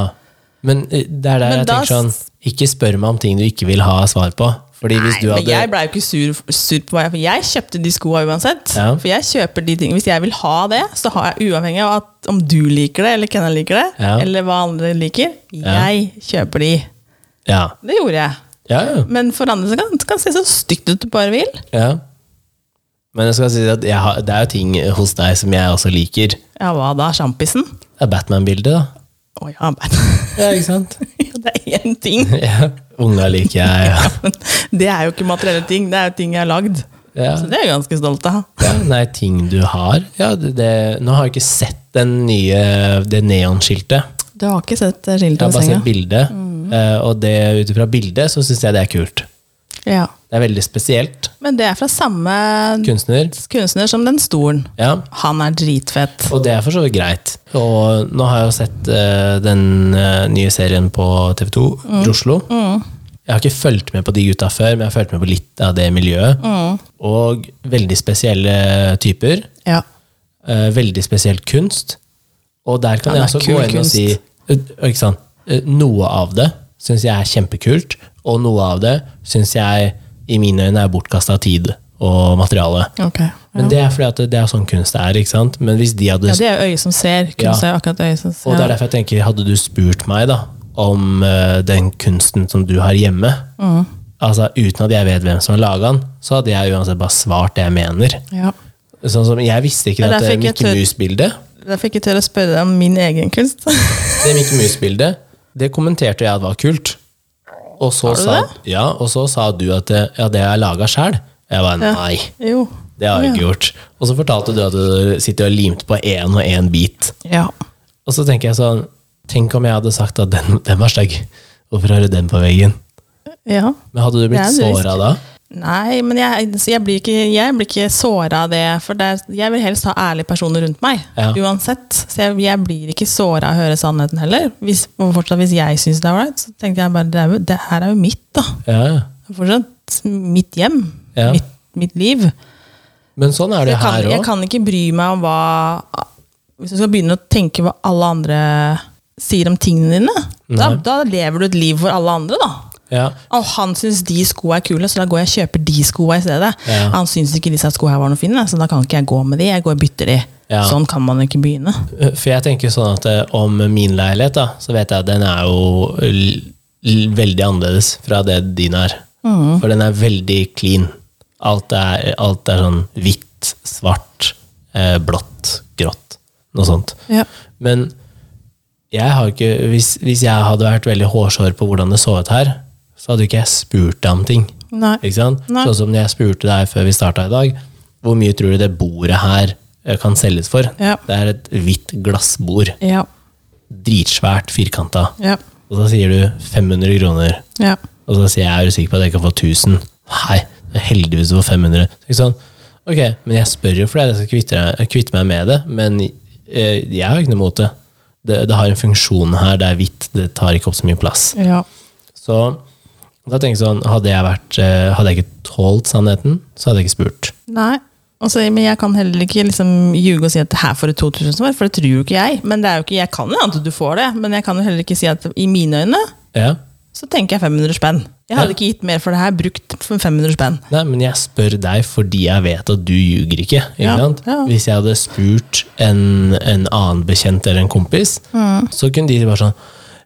Speaker 1: Men eh, det er der
Speaker 2: Men
Speaker 1: jeg
Speaker 2: da-
Speaker 1: tenker sånn Ikke spør meg om ting du ikke vil ha svar på. Fordi hvis du
Speaker 2: Men
Speaker 1: hadde
Speaker 2: jeg blei jo ikke sur, sur på hva jeg For jeg kjøpte de skoa uansett.
Speaker 1: Ja.
Speaker 2: For jeg kjøper de tingene Hvis jeg vil ha det, så har jeg uavhengig av at, om du liker det, eller hvem jeg liker det,
Speaker 1: Ja.
Speaker 2: eller hva andre liker.
Speaker 1: Ja.
Speaker 2: Jeg kjøper de.
Speaker 1: Ja.
Speaker 2: Det gjorde jeg.
Speaker 1: Ja, ja.
Speaker 2: Men for andre så kan det se så stygt ut du bare vil.
Speaker 1: ja. Men jeg skal si at jeg har, det er jo ting hos deg som jeg også liker.
Speaker 2: Ja, hva da? Sjampisen?
Speaker 1: Det er Batman-bildet, da.
Speaker 2: Å ja, men [LAUGHS]
Speaker 1: Ja, ikke sant?
Speaker 2: det er én ting.
Speaker 1: [LAUGHS] Ja. Unga liker jeg. Ja.
Speaker 2: Men det er jo ikke materielle ting, det er jo ting jeg har lagd.
Speaker 1: Ja.
Speaker 2: Så det er jeg ganske stolt av.
Speaker 1: Ja, nei, ting du har. Ja, det, det, nå har jeg ikke sett den nye, det neonskiltet.
Speaker 2: Du har ikke sett eh,
Speaker 1: Jeg har
Speaker 2: skiltet
Speaker 1: bare sett bildet, eh, og det ut ifra bildet så syns jeg det er kult.
Speaker 2: Ja.
Speaker 1: Det er veldig spesielt.
Speaker 2: Men det er fra samme
Speaker 1: Kunstner.
Speaker 2: kunstner som den stolen.
Speaker 1: Ja.
Speaker 2: Han er dritfett.
Speaker 1: Og det er for så vidt greit. Og nå har jeg jo sett eh, den eh, nye serien på TV2, Oslo. Jeg har ikke fulgt med på de gutta før, men jeg har fulgt med på litt av det miljøet. Og veldig spesielle typer.
Speaker 2: Ja.
Speaker 1: Eh, veldig spesiell kunst. Og der kan
Speaker 2: Ja,
Speaker 1: jeg
Speaker 2: det er
Speaker 1: også
Speaker 2: kul
Speaker 1: gå inn og
Speaker 2: kunst.
Speaker 1: si eh, ikke sant? Eh, Noe av det syns jeg er kjempekult, og noe av det syns jeg i mine øyne er bortkasta tid og materiale.
Speaker 2: Ok.
Speaker 1: Men
Speaker 2: Ja.
Speaker 1: det er fordi at det er sånn kunst det er, ikke sant? Men hvis de hadde
Speaker 2: ja, det er jo øyet som ser. Kunne
Speaker 1: Ja.
Speaker 2: se akkurat øyet som ser.
Speaker 1: Og det er derfor jeg tenker, hadde du spurt meg da, om eh, den kunsten som du har hjemme,
Speaker 2: Mm.
Speaker 1: altså uten at jeg vet hvem som har laget den, så hadde jeg uansett bare svart det jeg mener.
Speaker 2: Ja.
Speaker 1: Sånn som, jeg visste ikke
Speaker 2: Ja,
Speaker 1: at
Speaker 2: derfor
Speaker 1: det
Speaker 2: ikke
Speaker 1: Mikke
Speaker 2: tør-
Speaker 1: Mus-bildet,
Speaker 2: Derfor fikk jeg til å spørre deg om min egen kunst. [LAUGHS]
Speaker 1: det Mikke Mus-bildet, det kommenterte jeg at var kult. Og så,
Speaker 2: Har du
Speaker 1: sa, ja, og så sa du at det, ja, det har jeg laget selv. Jeg bare, nei,
Speaker 2: jo.
Speaker 1: det har jeg ikke gjort. Og så fortalte du at du sitter og limt på en og en bit.
Speaker 2: Ja.
Speaker 1: Og så tenker jeg sånn Tenk om jeg hadde sagt at den, den var stygg. Hvorfor har du den på veggen?
Speaker 2: ja.
Speaker 1: Men hadde du blitt
Speaker 2: Det er en
Speaker 1: såra da?
Speaker 2: Nei, men jeg, så jeg blir ikke, jeg blir ikke såra av det. For det, er- jeg vil helst ha ærlige personer rundt meg.
Speaker 1: Ja.
Speaker 2: Uansett. Så jeg, jeg blir ikke såra av å høre sannheten heller. Hvis, og fortsatt, hvis jeg syns det er ålreit, så tenkte jeg bare det, er jo, det her er jo mitt, da.
Speaker 1: Ja.
Speaker 2: Det er Fortsatt mitt hjem.
Speaker 1: Ja.
Speaker 2: Mitt, mitt liv.
Speaker 1: Men sånn er det
Speaker 2: Jeg
Speaker 1: jo
Speaker 2: kan,
Speaker 1: her
Speaker 2: jeg
Speaker 1: òg.
Speaker 2: kan ikke bry meg om hva Hvis du skal begynne å tenke hva alle andre sier om tingene dine, da, da lever du et liv for alle andre, da.
Speaker 1: Ja.
Speaker 2: Og han syns de skoa er kule, så da går jeg og kjøper de skoa i stedet.
Speaker 1: Ja.
Speaker 2: Han syns ikke disse skoa her var noe fine, så da kan ikke jeg gå med de. Jeg går og bytter de.
Speaker 1: Ja.
Speaker 2: Sånn kan man ikke begynne.
Speaker 1: For jeg tenker sånn at eh, om min leilighet, da, så vet jeg at den er jo l- l- veldig annerledes fra det din er. For den er veldig clean. Alt er, alt er sånn hvitt, svart, eh, blått, grått. Noe sånt. Men jeg har ikke, hvis, hvis jeg hadde vært veldig hårsår på hvordan det så ut her, så hadde ikke jeg spurt deg om ting.
Speaker 2: Nei.
Speaker 1: Ikke sant?
Speaker 2: Nei.
Speaker 1: Sånn som når jeg spurte deg før vi starta i dag, hvor mye tror du det bordet her eh, kan selges for?
Speaker 2: Ja.
Speaker 1: Det er et hvitt glassbord.
Speaker 2: Ja.
Speaker 1: Dritsvært, firkanta.
Speaker 2: Ja.
Speaker 1: Og så sier du 500 kroner.
Speaker 2: Ja.
Speaker 1: Og så sier jeg er du sikker på at jeg kan få 1000? Nei, det er heldigvis du får 500. Så ikke sånn, ok, men jeg spør jo fordi jeg skal kvitte, kvitte meg med det, men eh, jeg har ikke noe mot det. det. Det har en funksjon her, det er hvitt, det tar ikke opp så mye plass.
Speaker 2: Ja.
Speaker 1: Så da tenker jeg sånn, hadde jeg, vært, eh, hadde jeg ikke tålt sannheten, så hadde jeg ikke spurt.
Speaker 2: Nei. Og så- men jeg kan heller ikke liksom ljuge og si at det her får du 2000 for, for det tror jo ikke jeg. Men det er jo ikke, jeg kan jo ante at du får det, men jeg kan jo heller ikke si at i mine øyne
Speaker 1: Ja,
Speaker 2: så tenker jeg 500 spenn. Jeg hadde
Speaker 1: Ja.
Speaker 2: ikke gitt mer for det her, brukt for 500 spenn.
Speaker 1: Nei, men jeg spør deg fordi jeg vet at du ljuger ikke. ikke
Speaker 2: Ja,
Speaker 1: sant?
Speaker 2: ja.
Speaker 1: Hvis jeg hadde spurt en, en annen bekjent eller en kompis,
Speaker 2: Mm.
Speaker 1: så kunne de bare sånn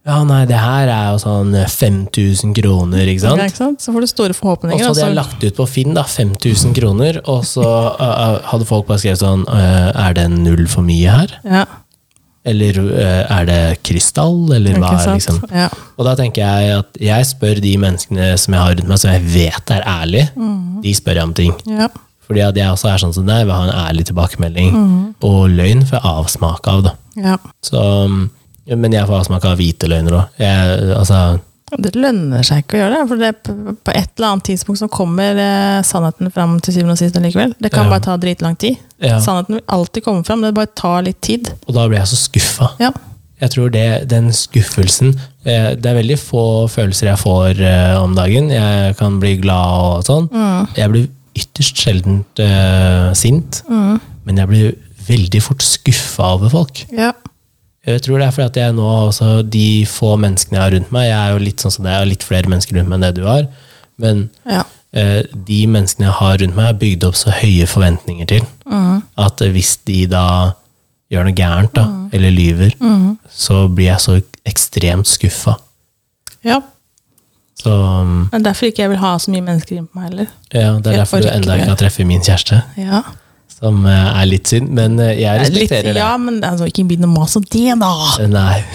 Speaker 1: Ja, nei, det her er jo sånn 5000 kroner, ikke
Speaker 2: Ja,
Speaker 1: sant?
Speaker 2: ikke sant? Så får du store
Speaker 1: Og
Speaker 2: forhåpninger. altså.
Speaker 1: så
Speaker 2: og
Speaker 1: hadde jeg lagt ut på Finn da, 5000 kroner, og så øh, øh, hadde folk bare skrevet sånn øh, Er det en null for mye her?
Speaker 2: ja,
Speaker 1: Eller øh, er det krystall? Eller hva
Speaker 2: ikke
Speaker 1: er
Speaker 2: sant?
Speaker 1: liksom
Speaker 2: Ja.
Speaker 1: og da tenker jeg at jeg spør de menneskene som jeg har rundt meg, som jeg vet er ærlige, de spør jeg om ting.
Speaker 2: Ja.
Speaker 1: Fordi at jeg også er sånn som deg, vil ha en ærlig tilbakemelding. Og løgn får jeg avsmak av, da.
Speaker 2: ja.
Speaker 1: Så, ja, men jeg får avsmak av hvite løgner òg. Altså,
Speaker 2: Det lønner seg ikke å gjøre det. For det, p- på et eller annet tidspunkt så kommer eh, sannheten fram til syvende og sist likevel. Det kan
Speaker 1: Ja.
Speaker 2: bare ta dritlang tid.
Speaker 1: ja.
Speaker 2: Sannheten vil alltid komme fram, det bare tar litt tid.
Speaker 1: Og da blir jeg så skuffa.
Speaker 2: Ja.
Speaker 1: Jeg tror det, den skuffelsen eh, Det er veldig få følelser jeg får eh, om dagen. Jeg kan bli glad og sånn. Jeg blir ytterst sjelden eh, sint, men jeg blir veldig fort skuffa over folk.
Speaker 2: Ja.
Speaker 1: Jeg tror det er fordi at jeg nå også, de få menneskene jeg har rundt meg, jeg er jo litt sånn som deg, jeg har litt flere mennesker rundt meg enn det du har, men
Speaker 2: Ja.
Speaker 1: eh, de menneskene jeg har rundt meg, har bygd opp så høye forventninger til,
Speaker 2: Mm.
Speaker 1: at eh, hvis de da gjør noe gærent, da,
Speaker 2: Mm.
Speaker 1: eller lyver, så blir jeg så ekstremt skuffa.
Speaker 2: ja.
Speaker 1: Så mm,
Speaker 2: Men derfor ikke jeg vil ha så mye mennesker inn på meg heller.
Speaker 1: ja, det er
Speaker 2: Jeg
Speaker 1: derfor du
Speaker 2: orker
Speaker 1: enda
Speaker 2: det.
Speaker 1: ikke har treffet min kjæreste,
Speaker 2: Ja.
Speaker 1: som eh, er litt synd, men eh, jeg
Speaker 2: Litt,
Speaker 1: respekterer det. Eh,
Speaker 2: ja, men altså, ikke begynn å mase om det, da!
Speaker 1: Nei.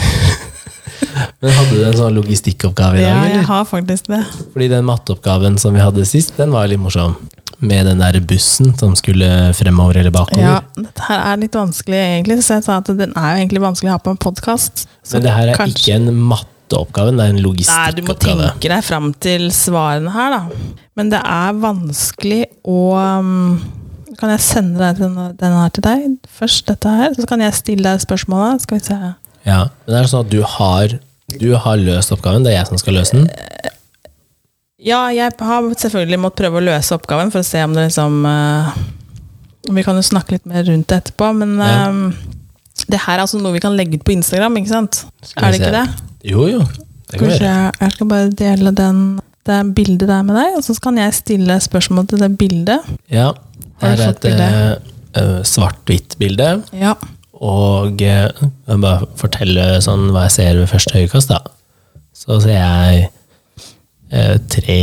Speaker 1: [LAUGHS] men hadde du en sånn logistikkoppgave i dag,
Speaker 2: Ja,
Speaker 1: eller?
Speaker 2: jeg har faktisk det.
Speaker 1: Fordi den matteoppgaven som vi hadde sist, den var jo litt morsom. Med den der bussen som skulle fremover eller
Speaker 2: Ja,
Speaker 1: bakover.
Speaker 2: dette her er litt vanskelig, egentlig. Så jeg sa at den er jo egentlig vanskelig å ha på en podkast.
Speaker 1: Men det her er ikke en matteoppgave, det er en
Speaker 2: Nei, du må
Speaker 1: logistikkoppgave.
Speaker 2: tenke deg fram til svarene her, da. Men det er vanskelig å um, Kan jeg sende deg denne, denne her til deg først, dette her? Så kan jeg stille deg spørsmålet. Skal vi se.
Speaker 1: Ja. Men det er sånn at du har, du har løst oppgaven, det er jeg som skal løse den.
Speaker 2: Ja, jeg har selvfølgelig måttet prøve å løse oppgaven for å se om det liksom eh, Vi kan jo snakke litt mer rundt det etterpå, men
Speaker 1: Ja.
Speaker 2: eh, det her er altså noe vi kan legge ut på Instagram, ikke sant?
Speaker 1: Skal vi
Speaker 2: er det ikke
Speaker 1: se.
Speaker 2: det?
Speaker 1: Jo, jo. Det
Speaker 2: Skal
Speaker 1: kan
Speaker 2: vi
Speaker 1: vi
Speaker 2: se,
Speaker 1: gjøre.
Speaker 2: jeg skal bare dele den det er bildet der med deg, og så kan jeg stille spørsmål til det bildet.
Speaker 1: Ja,
Speaker 2: Har
Speaker 1: her
Speaker 2: du
Speaker 1: er
Speaker 2: fått
Speaker 1: et eh, svart-hvitt bilde.
Speaker 2: Ja.
Speaker 1: Og eh, jeg må bare fortelle sånn hva jeg ser ved første øyekast, da. Så ser jeg eh, tre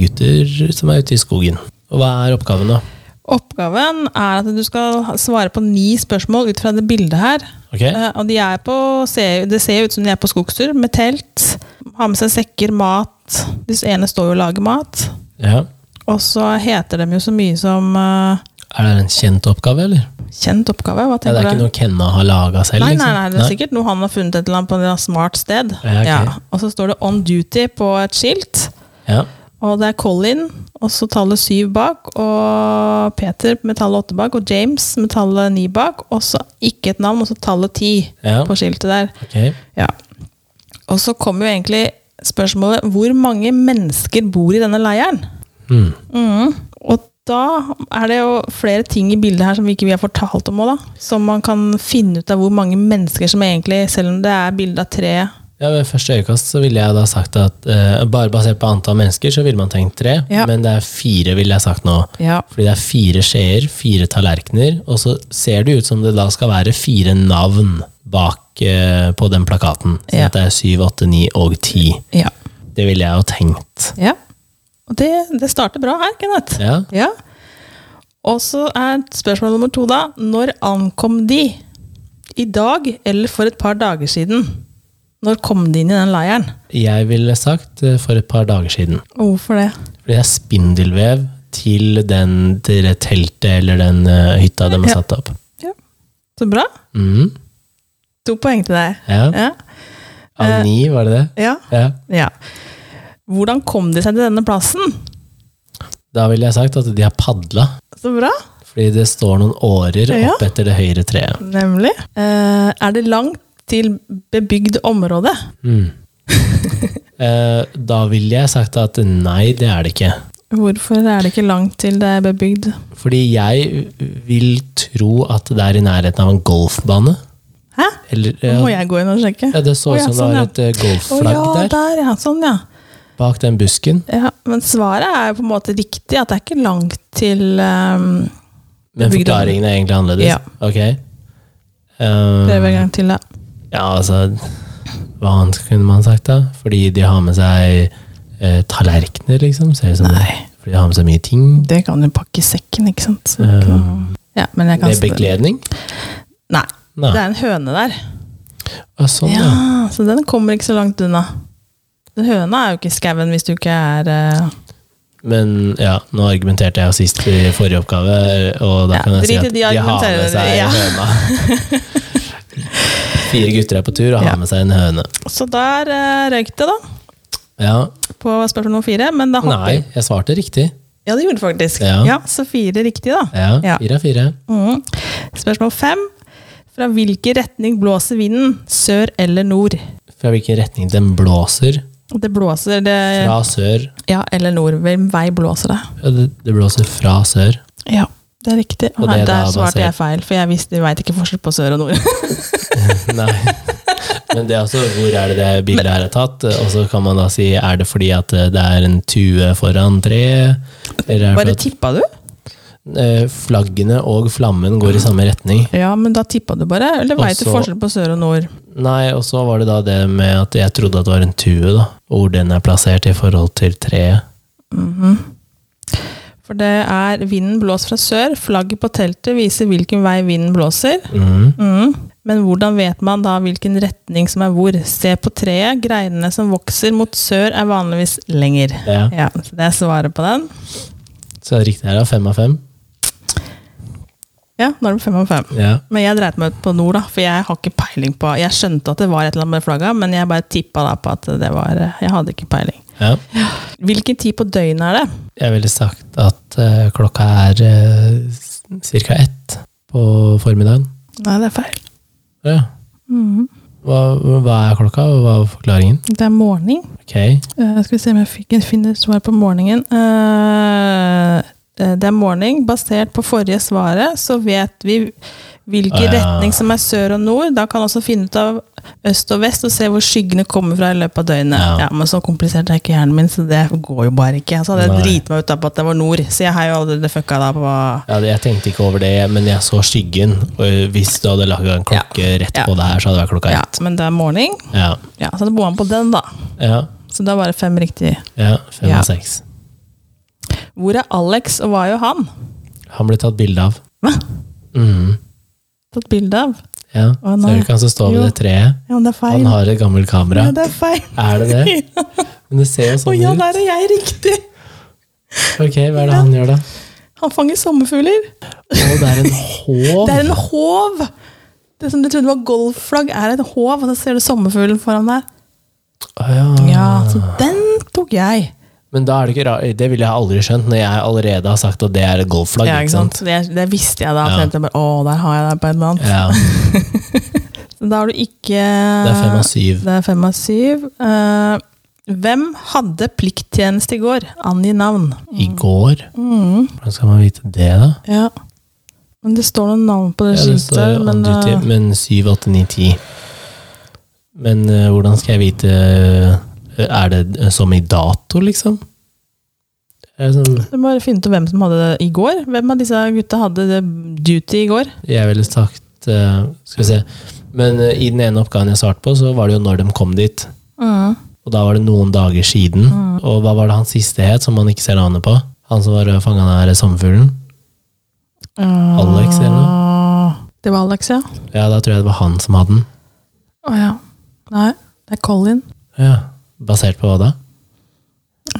Speaker 1: gutter som er ute i skogen. Og hva er oppgaven, da?
Speaker 2: Oppgaven er at du skal ha- svare på ni spørsmål ut fra det bildet her.
Speaker 1: Ok?
Speaker 2: Eh, og de er på, ser, det ser jo ut som de er på skogstur, med telt. Har med seg sekker, mat. De ene står jo og lager mat.
Speaker 1: Ja.
Speaker 2: Og så heter de jo så mye som eh,
Speaker 1: Er det en kjent oppgave, eller?
Speaker 2: kjent oppgave. Hva
Speaker 1: Ja, det
Speaker 2: tenker
Speaker 1: er ikke
Speaker 2: du?
Speaker 1: noe Kenna har laga selv?
Speaker 2: Nei, nei,
Speaker 1: liksom?
Speaker 2: nei, det er sikkert noe han har funnet et eller annet på et eller annet smart sted.
Speaker 1: Ja, ok.
Speaker 2: Og så står det 'on duty' på et skilt.
Speaker 1: Ja.
Speaker 2: Og det er Colin, og så tallet syv bak, og Peter med tallet åtte bak, og James med tallet ni bak, og så ikke et navn, og så tallet ti
Speaker 1: Ja.
Speaker 2: på skiltet der.
Speaker 1: Ok.
Speaker 2: Ja. Og så kommer jo egentlig spørsmålet hvor mange mennesker bor i denne leiren?
Speaker 1: Hmm.
Speaker 2: Mhm. Og da er det jo flere ting i bildet her som vi ikke vi har fortalt om òg, da. Som man kan finne ut av hvor mange mennesker som egentlig, selv om det er bilde av tre
Speaker 1: Ja, Ved første øyekast så ville jeg da sagt at eh, bare basert på antall mennesker, så ville man tenkt tre.
Speaker 2: Ja.
Speaker 1: Men det er fire, ville jeg sagt nå.
Speaker 2: Ja.
Speaker 1: Fordi det er fire skjeer, fire tallerkener, og så ser det ut som det da skal være fire navn bak eh, på den plakaten. Så
Speaker 2: Ja.
Speaker 1: at det er syv, åtte, ni og ti.
Speaker 2: Ja.
Speaker 1: Det ville jeg jo tenkt.
Speaker 2: ja. Og det, det starter bra her, Kenneth.
Speaker 1: Ja,
Speaker 2: Ja. Og så er spørsmål nummer to da. Når ankom de? I dag eller for et par dager siden? Når kom de inn i den leiren?
Speaker 1: jeg ville sagt eh, for et par dager siden.
Speaker 2: Og hvorfor det?
Speaker 1: Fordi det er spindelvev til den til det teltet eller den eh, hytta de har
Speaker 2: Ja.
Speaker 1: satt opp.
Speaker 2: Ja. Så bra.
Speaker 1: Mm,
Speaker 2: To poeng til deg.
Speaker 1: ja.
Speaker 2: Ja.
Speaker 1: Av
Speaker 2: Eh,
Speaker 1: ni, var det det?
Speaker 2: ja.
Speaker 1: Ja.
Speaker 2: ja. Hvordan kom de seg til denne plassen?
Speaker 1: Da ville jeg sagt at de har padla.
Speaker 2: Så bra.
Speaker 1: Fordi det står noen årer
Speaker 2: Ja.
Speaker 1: opp etter det høyre treet.
Speaker 2: Nemlig. Eh, er det langt til bebygd område? [LAUGHS]
Speaker 1: Mm. Eh, da ville jeg sagt at nei, det er det ikke.
Speaker 2: Hvorfor er det ikke langt til det er bebygd?
Speaker 1: Fordi jeg vil tro at det er i nærheten av en golfbane.
Speaker 2: Hæ?
Speaker 1: Eller,
Speaker 2: Nå
Speaker 1: ja,
Speaker 2: må jeg gå inn og sjekke.
Speaker 1: ja, det så
Speaker 2: Å
Speaker 1: ut
Speaker 2: ja,
Speaker 1: som det
Speaker 2: sånn,
Speaker 1: var
Speaker 2: ja.
Speaker 1: et eh,
Speaker 2: Å
Speaker 1: golfflagg
Speaker 2: ja,
Speaker 1: der,
Speaker 2: der, ja. Sånn, ja.
Speaker 1: bak den busken.
Speaker 2: Ja, men svaret er jo på en måte riktig, at det er ikke langt til um,
Speaker 1: Men
Speaker 2: Bygd område.
Speaker 1: forklaringen er egentlig annerledes.
Speaker 2: Ja.
Speaker 1: Ok. Um,
Speaker 2: Prøv en gang til, da.
Speaker 1: ja, altså Hva annet kunne man sagt, da? Fordi de har med seg eh, tallerkener, liksom. Ser ut som det. Fordi de har med seg mye ting.
Speaker 2: Det kan du pakke i sekken, ikke sant? Så det er
Speaker 1: Um,
Speaker 2: ikke noe- ja, men jeg kan
Speaker 1: med bekledning?
Speaker 2: Nei,
Speaker 1: Nei.
Speaker 2: det er en høne der.
Speaker 1: Å, sånn, ja.
Speaker 2: Ja, Så den kommer ikke så langt unna. Den høna er jo ikke i skauen hvis du ikke er eh,
Speaker 1: Men ja, nå argumenterte jeg jo sist i forrige oppgave, og da
Speaker 2: Ja,
Speaker 1: kan jeg si
Speaker 2: drit i
Speaker 1: at de
Speaker 2: de
Speaker 1: har med
Speaker 2: argumenterende,
Speaker 1: seg
Speaker 2: ja.
Speaker 1: høna.
Speaker 2: [LAUGHS]
Speaker 1: Fire gutter er på tur og har
Speaker 2: Ja.
Speaker 1: med seg en høne.
Speaker 2: Så der eh, røyk det, da.
Speaker 1: Ja,
Speaker 2: På spørsmål nummer fire. Men da hopper
Speaker 1: Nei, jeg svarte riktig.
Speaker 2: Ja, det gjorde du faktisk.
Speaker 1: Ja.
Speaker 2: ja, så fire riktig, da.
Speaker 1: Ja,
Speaker 2: Ja.
Speaker 1: Fire av fire.
Speaker 2: Mhm. Spørsmål fem. Fra hvilken retning blåser vinden? Sør eller nord?
Speaker 1: Fra hvilken retning den blåser.
Speaker 2: Det blåser det,
Speaker 1: Fra sør.
Speaker 2: Ja, eller nord. Hvilken vei blåser det?
Speaker 1: Ja, Det det blåser fra sør.
Speaker 2: Ja, det er riktig.
Speaker 1: Og
Speaker 2: Nei,
Speaker 1: det er da
Speaker 2: der svarte
Speaker 1: basert-
Speaker 2: jeg feil, for jeg visste, jeg veit ikke forskjell på sør og nord.
Speaker 1: Nei. Men det er også hvor er det det bildet her er tatt, og så kan man da si er det fordi at eh, det er en tue foran treet? Eller er det
Speaker 2: Bare
Speaker 1: fordi at
Speaker 2: tippa du?
Speaker 1: eh, flaggene og flammen går i samme retning?
Speaker 2: Ja, men da tippa du bare. Eller veit du
Speaker 1: Også-
Speaker 2: forskjell på sør og nord?
Speaker 1: Nei, og så var det da det med at jeg trodde at det var en tue, da. Og hvor den er plassert i forhold til treet.
Speaker 2: Mhm. For det er vinden blåser fra sør. Flagget på teltet viser hvilken vei vinden blåser.
Speaker 1: Mhm.
Speaker 2: Mhm. Men hvordan vet man da hvilken retning som er hvor? Se på treet. Greinene som vokser mot sør, er vanligvis lenger.
Speaker 1: Ja.
Speaker 2: Ja, så Det er svaret på den.
Speaker 1: Så det riktige her er fem av fem.
Speaker 2: Ja, nå er det fem av fem.
Speaker 1: Ja.
Speaker 2: Men jeg dreit meg ut på nord, da, for jeg har ikke peiling på Jeg skjønte at det var et eller annet med flagga, men jeg bare tippa da på at det var eh, Jeg hadde ikke peiling.
Speaker 1: ja.
Speaker 2: Hvilken tid på døgnet er det?
Speaker 1: Jeg ville sagt at eh, klokka er ca. ett på formiddagen.
Speaker 2: Nei, det er feil.
Speaker 1: Ja. Hva, hva er klokka, og hva er forklaringen?
Speaker 2: Mhm. Det er morgen.
Speaker 1: Ok.
Speaker 2: Eh, skal vi se om jeg fikk, finner svar på morgenen. Eh, eh, det er morning. Basert på forrige svaret så vet vi hvilken
Speaker 1: Ah, ja.
Speaker 2: retning som er sør og nord. Da kan vi også finne ut av øst og vest og se hvor skyggene kommer fra i løpet av døgnet.
Speaker 1: Ja.
Speaker 2: Ja, Men så komplisert er ikke hjernen min, så det går jo bare ikke. Så hadde
Speaker 1: Nei.
Speaker 2: jeg driti meg ut da på at det var nord, så jeg har jo allerede fucka da på
Speaker 1: Ja, det- jeg tenkte ikke over det, men jeg så skyggen. Og eh, hvis du hadde laga en klokke rett
Speaker 2: Ja.
Speaker 1: på det her, så hadde det vært klokka
Speaker 2: ja,
Speaker 1: ett.
Speaker 2: Men det er morning.
Speaker 1: Ja.
Speaker 2: Ja, så det bor han på den, da.
Speaker 1: Ja.
Speaker 2: Så det er bare fem riktige.
Speaker 1: ja. Fem
Speaker 2: Ja.
Speaker 1: og seks.
Speaker 2: Hvor er Alex, og hva er jo han?
Speaker 1: Han ble tatt bilde av.
Speaker 2: Hva?
Speaker 1: Mm.
Speaker 2: Tatt bilde av?
Speaker 1: Ja.
Speaker 2: Å,
Speaker 1: Ser
Speaker 2: nei.
Speaker 1: du ikke han som står ved
Speaker 2: Jo.
Speaker 1: det treet?
Speaker 2: Ja, men det er feil.
Speaker 1: Han har et gammelt kamera.
Speaker 2: Ja, det er feil.
Speaker 1: Er det
Speaker 2: [LAUGHS]
Speaker 1: det? Men det ser jo
Speaker 2: Å
Speaker 1: sånn
Speaker 2: ja,
Speaker 1: ut.
Speaker 2: der er jeg riktig!
Speaker 1: Ok, Hva er det han gjør, da?
Speaker 2: Han fanger sommerfugler.
Speaker 1: Å, det er
Speaker 2: [LAUGHS]
Speaker 1: en håv!
Speaker 2: Det er en håv! Det som du trodde var golfflagg, er et håv, og så ser du sommerfuglen foran der.
Speaker 1: Å, ja.
Speaker 2: Ja, så
Speaker 1: Ah.
Speaker 2: den tok jeg.
Speaker 1: Men da er det ikke rar- Det ville jeg aldri skjønt, når jeg allerede har sagt at det er et golfflagg.
Speaker 2: Ja,
Speaker 1: ikke sant?
Speaker 2: Det, det visste jeg da.
Speaker 1: Ja.
Speaker 2: så tenkte Jeg bare, å, der har jeg deg på et eller annet.
Speaker 1: Ja,
Speaker 2: Så Da har du ikke
Speaker 1: Det er fem av syv.
Speaker 2: Det er fem av syv. Eh, hvem hadde plikttjeneste i går? Angi navn. Mm.
Speaker 1: I går? Hvordan skal man vite det, da?
Speaker 2: Ja. Men det står noen navn på det
Speaker 1: Ja, det står
Speaker 2: skiltet.
Speaker 1: jo
Speaker 2: Men,
Speaker 1: on duty,
Speaker 2: eh,
Speaker 1: men 7, 8, 9, 10. Men eh, hvordan skal jeg vite eh, Er det eh, som i dato, liksom? Er det sånn,
Speaker 2: du må bare finne ut hvem som hadde det i går. Hvem av disse gutta hadde det duty i går?
Speaker 1: jeg ville sagt eh, Skal vi se. Men eh, i den ene oppgaven jeg svarte på, så var det jo når de kom dit.
Speaker 2: Mm.
Speaker 1: Og da var det noen dager siden. Og hva var det han siste het, som man ikke ser navnet på? Han som var fanga av den her sommerfuglen? Alex, eller noe?
Speaker 2: Ah, Det var Alex, ja.
Speaker 1: Ja, da tror jeg det var han som hadde den.
Speaker 2: Å ja. Nei, det er Colin.
Speaker 1: Ja. Basert på hva da?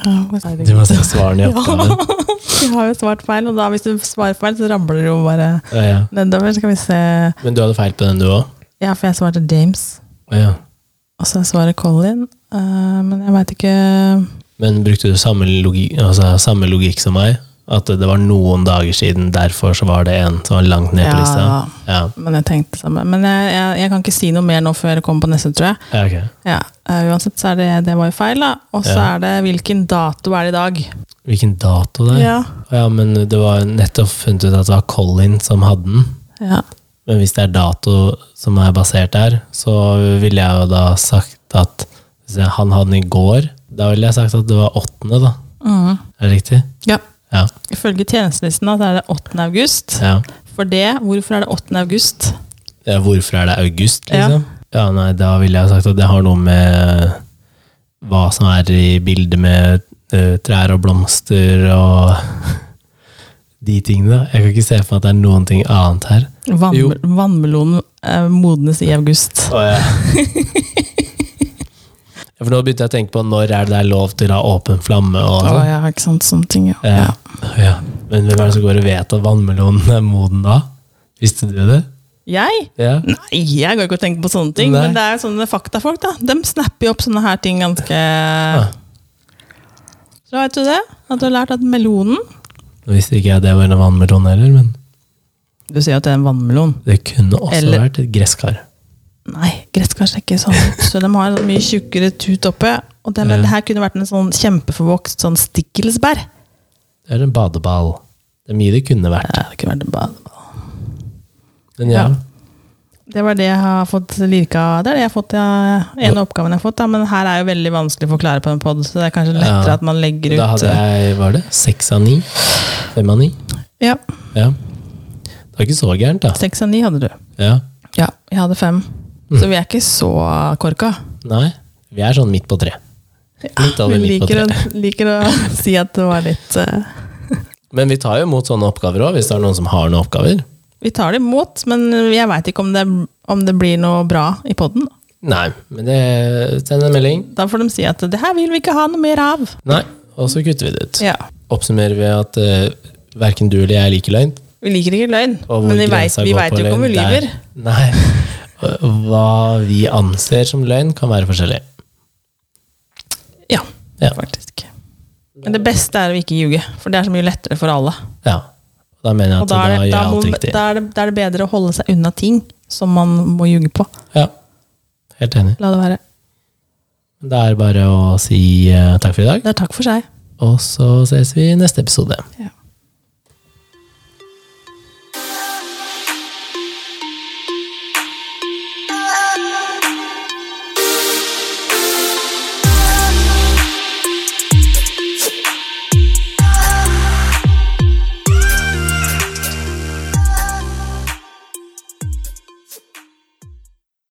Speaker 2: Ja, hva er det?
Speaker 1: Du må se [LAUGHS] svarene i oppgaven.
Speaker 2: Vi har jo svart feil, og da hvis du svarer feil, så ramler det jo bare
Speaker 1: Ja, ja.
Speaker 2: nedover. Skal vi se
Speaker 1: Men du hadde feil på den, du òg?
Speaker 2: Ja, for jeg svarte James,
Speaker 1: Ja.
Speaker 2: og så svarer Colin. Eh, men jeg veit ikke
Speaker 1: Men brukte du samme, logi, altså, samme logikk som meg? At det var noen dager siden, derfor så var det en som var langt ned på lista? Ja.
Speaker 2: Men jeg tenkte det samme. Men jeg, jeg, jeg kan ikke si noe mer nå før jeg kommer på neste, tror jeg.
Speaker 1: ja, ok.
Speaker 2: Ja, eh, Uansett så er det det var jo feil, da. Og så
Speaker 1: Ja.
Speaker 2: er det hvilken dato er det i dag?
Speaker 1: Hvilken dato det er?
Speaker 2: Ja.
Speaker 1: ja, men det var nettopp funnet ut at det var Colin som hadde den.
Speaker 2: Ja.
Speaker 1: Men hvis det er dato som er basert der, så ville jeg jo da sagt at hvis jeg- han hadde den i går, da ville jeg sagt at det var åttende, da.
Speaker 2: Mm.
Speaker 1: Er det riktig?
Speaker 2: ja.
Speaker 1: Ja.
Speaker 2: Ifølge tjenestelisten da, så er det 8. august.
Speaker 1: ja.
Speaker 2: For det, hvorfor er det 8. august?
Speaker 1: Ja, Hvorfor er det august,
Speaker 2: Ja.
Speaker 1: liksom? Ja, nei, da ville jeg sagt at det har noe med hva som er i bildet med eh, trær og blomster og [LAUGHS] de tingene. Jeg kan ikke se for meg at det er noen ting annet her.
Speaker 2: Vann,
Speaker 1: Jo.
Speaker 2: vannmelonen eh, modnes i august.
Speaker 1: [LAUGHS] ja. for nå begynte jeg å tenke på når er det det er lov til å ha åpen flamme og
Speaker 2: Å
Speaker 1: sånn.
Speaker 2: ja, ikke sant. Sånne ting, ja.
Speaker 1: Ja. Ja. Men hvem er det som går og vet at vannmelonen er moden da? Visste du det?
Speaker 2: Jeg?
Speaker 1: Ja.
Speaker 2: Nei, jeg går ikke og tenker på sånne ting.
Speaker 1: Nei.
Speaker 2: Men det er jo sånne faktafolk, da. De snapper jo opp sånne her ting ganske Så da vet du det. At du har lært at melonen
Speaker 1: Nå visste ikke jeg det var en vannmelon heller, men
Speaker 2: Du sier jo at det er en vannmelon.
Speaker 1: det kunne også
Speaker 2: Eller-
Speaker 1: vært et gresskar.
Speaker 2: Nei, gresskars er ikke sånn. Så de har en mye tjukkere tut oppe. Og det, men
Speaker 1: Ja.
Speaker 2: det her kunne vært en sånn kjempeforvokst sånn stikkelsbær.
Speaker 1: Det er en badeball. Det er mye det kunne vært.
Speaker 2: Det kunne vært en bad.
Speaker 1: Men ja.
Speaker 2: Ja. Det var det jeg har fått lirka Det er det jeg har fått, ja, ene oppgaven jeg har fått. Da. Men her er jo veldig vanskelig å forklare på en pod, så det er kanskje lettere
Speaker 1: Ja.
Speaker 2: at man legger
Speaker 1: Da
Speaker 2: ut
Speaker 1: hadde jeg, var det seks av ni? Fem av ni?
Speaker 2: eh, Ja,
Speaker 1: Ja. Det var ikke så gærent, da.
Speaker 2: Seks av ni hadde du.
Speaker 1: Ja.
Speaker 2: Ja, jeg hadde fem. Så vi er ikke så korka.
Speaker 1: Nei. Vi er sånn midt på tre. Litt
Speaker 2: Vi
Speaker 1: over midt på tre.
Speaker 2: liker å, [LAUGHS] liker å si at det var litt eh,
Speaker 1: Men vi tar jo imot sånne oppgaver òg, hvis det er noen som har noen oppgaver.
Speaker 2: Vi tar det imot, men jeg veit ikke om det, om det blir noe bra i poden.
Speaker 1: Nei, men det Send en melding.
Speaker 2: Da får de si at 'det her vil vi ikke ha noe mer av'.
Speaker 1: Nei, og så kutter vi det ut.
Speaker 2: Ja.
Speaker 1: Oppsummerer vi at uh, verken du eller jeg liker løgn.
Speaker 2: Vi liker ikke løgn,
Speaker 1: og hvor
Speaker 2: men vi vet,
Speaker 1: grensa
Speaker 2: vi
Speaker 1: går
Speaker 2: vet
Speaker 1: på
Speaker 2: jo ikke om vi
Speaker 1: løgn,
Speaker 2: lyver.
Speaker 1: der- Nei. [LAUGHS] Hva vi anser som løgn, kan være forskjellig.
Speaker 2: Ja,
Speaker 1: Ja.
Speaker 2: faktisk. Men det beste er å ikke ljuge, for det er så mye lettere for alle.
Speaker 1: Ja. Da mener jeg
Speaker 2: Og
Speaker 1: at
Speaker 2: da
Speaker 1: da,
Speaker 2: er, det,
Speaker 1: gjør
Speaker 2: da,
Speaker 1: jeg
Speaker 2: må,
Speaker 1: alt riktig.
Speaker 2: da, er det, da er det bedre å holde seg unna ting som man må ljuge på.
Speaker 1: Ja. Helt enig.
Speaker 2: La det være.
Speaker 1: Det er bare å si eh, takk for i dag,
Speaker 2: Det er takk for seg.
Speaker 1: og så ses vi i neste episode.
Speaker 2: Ja.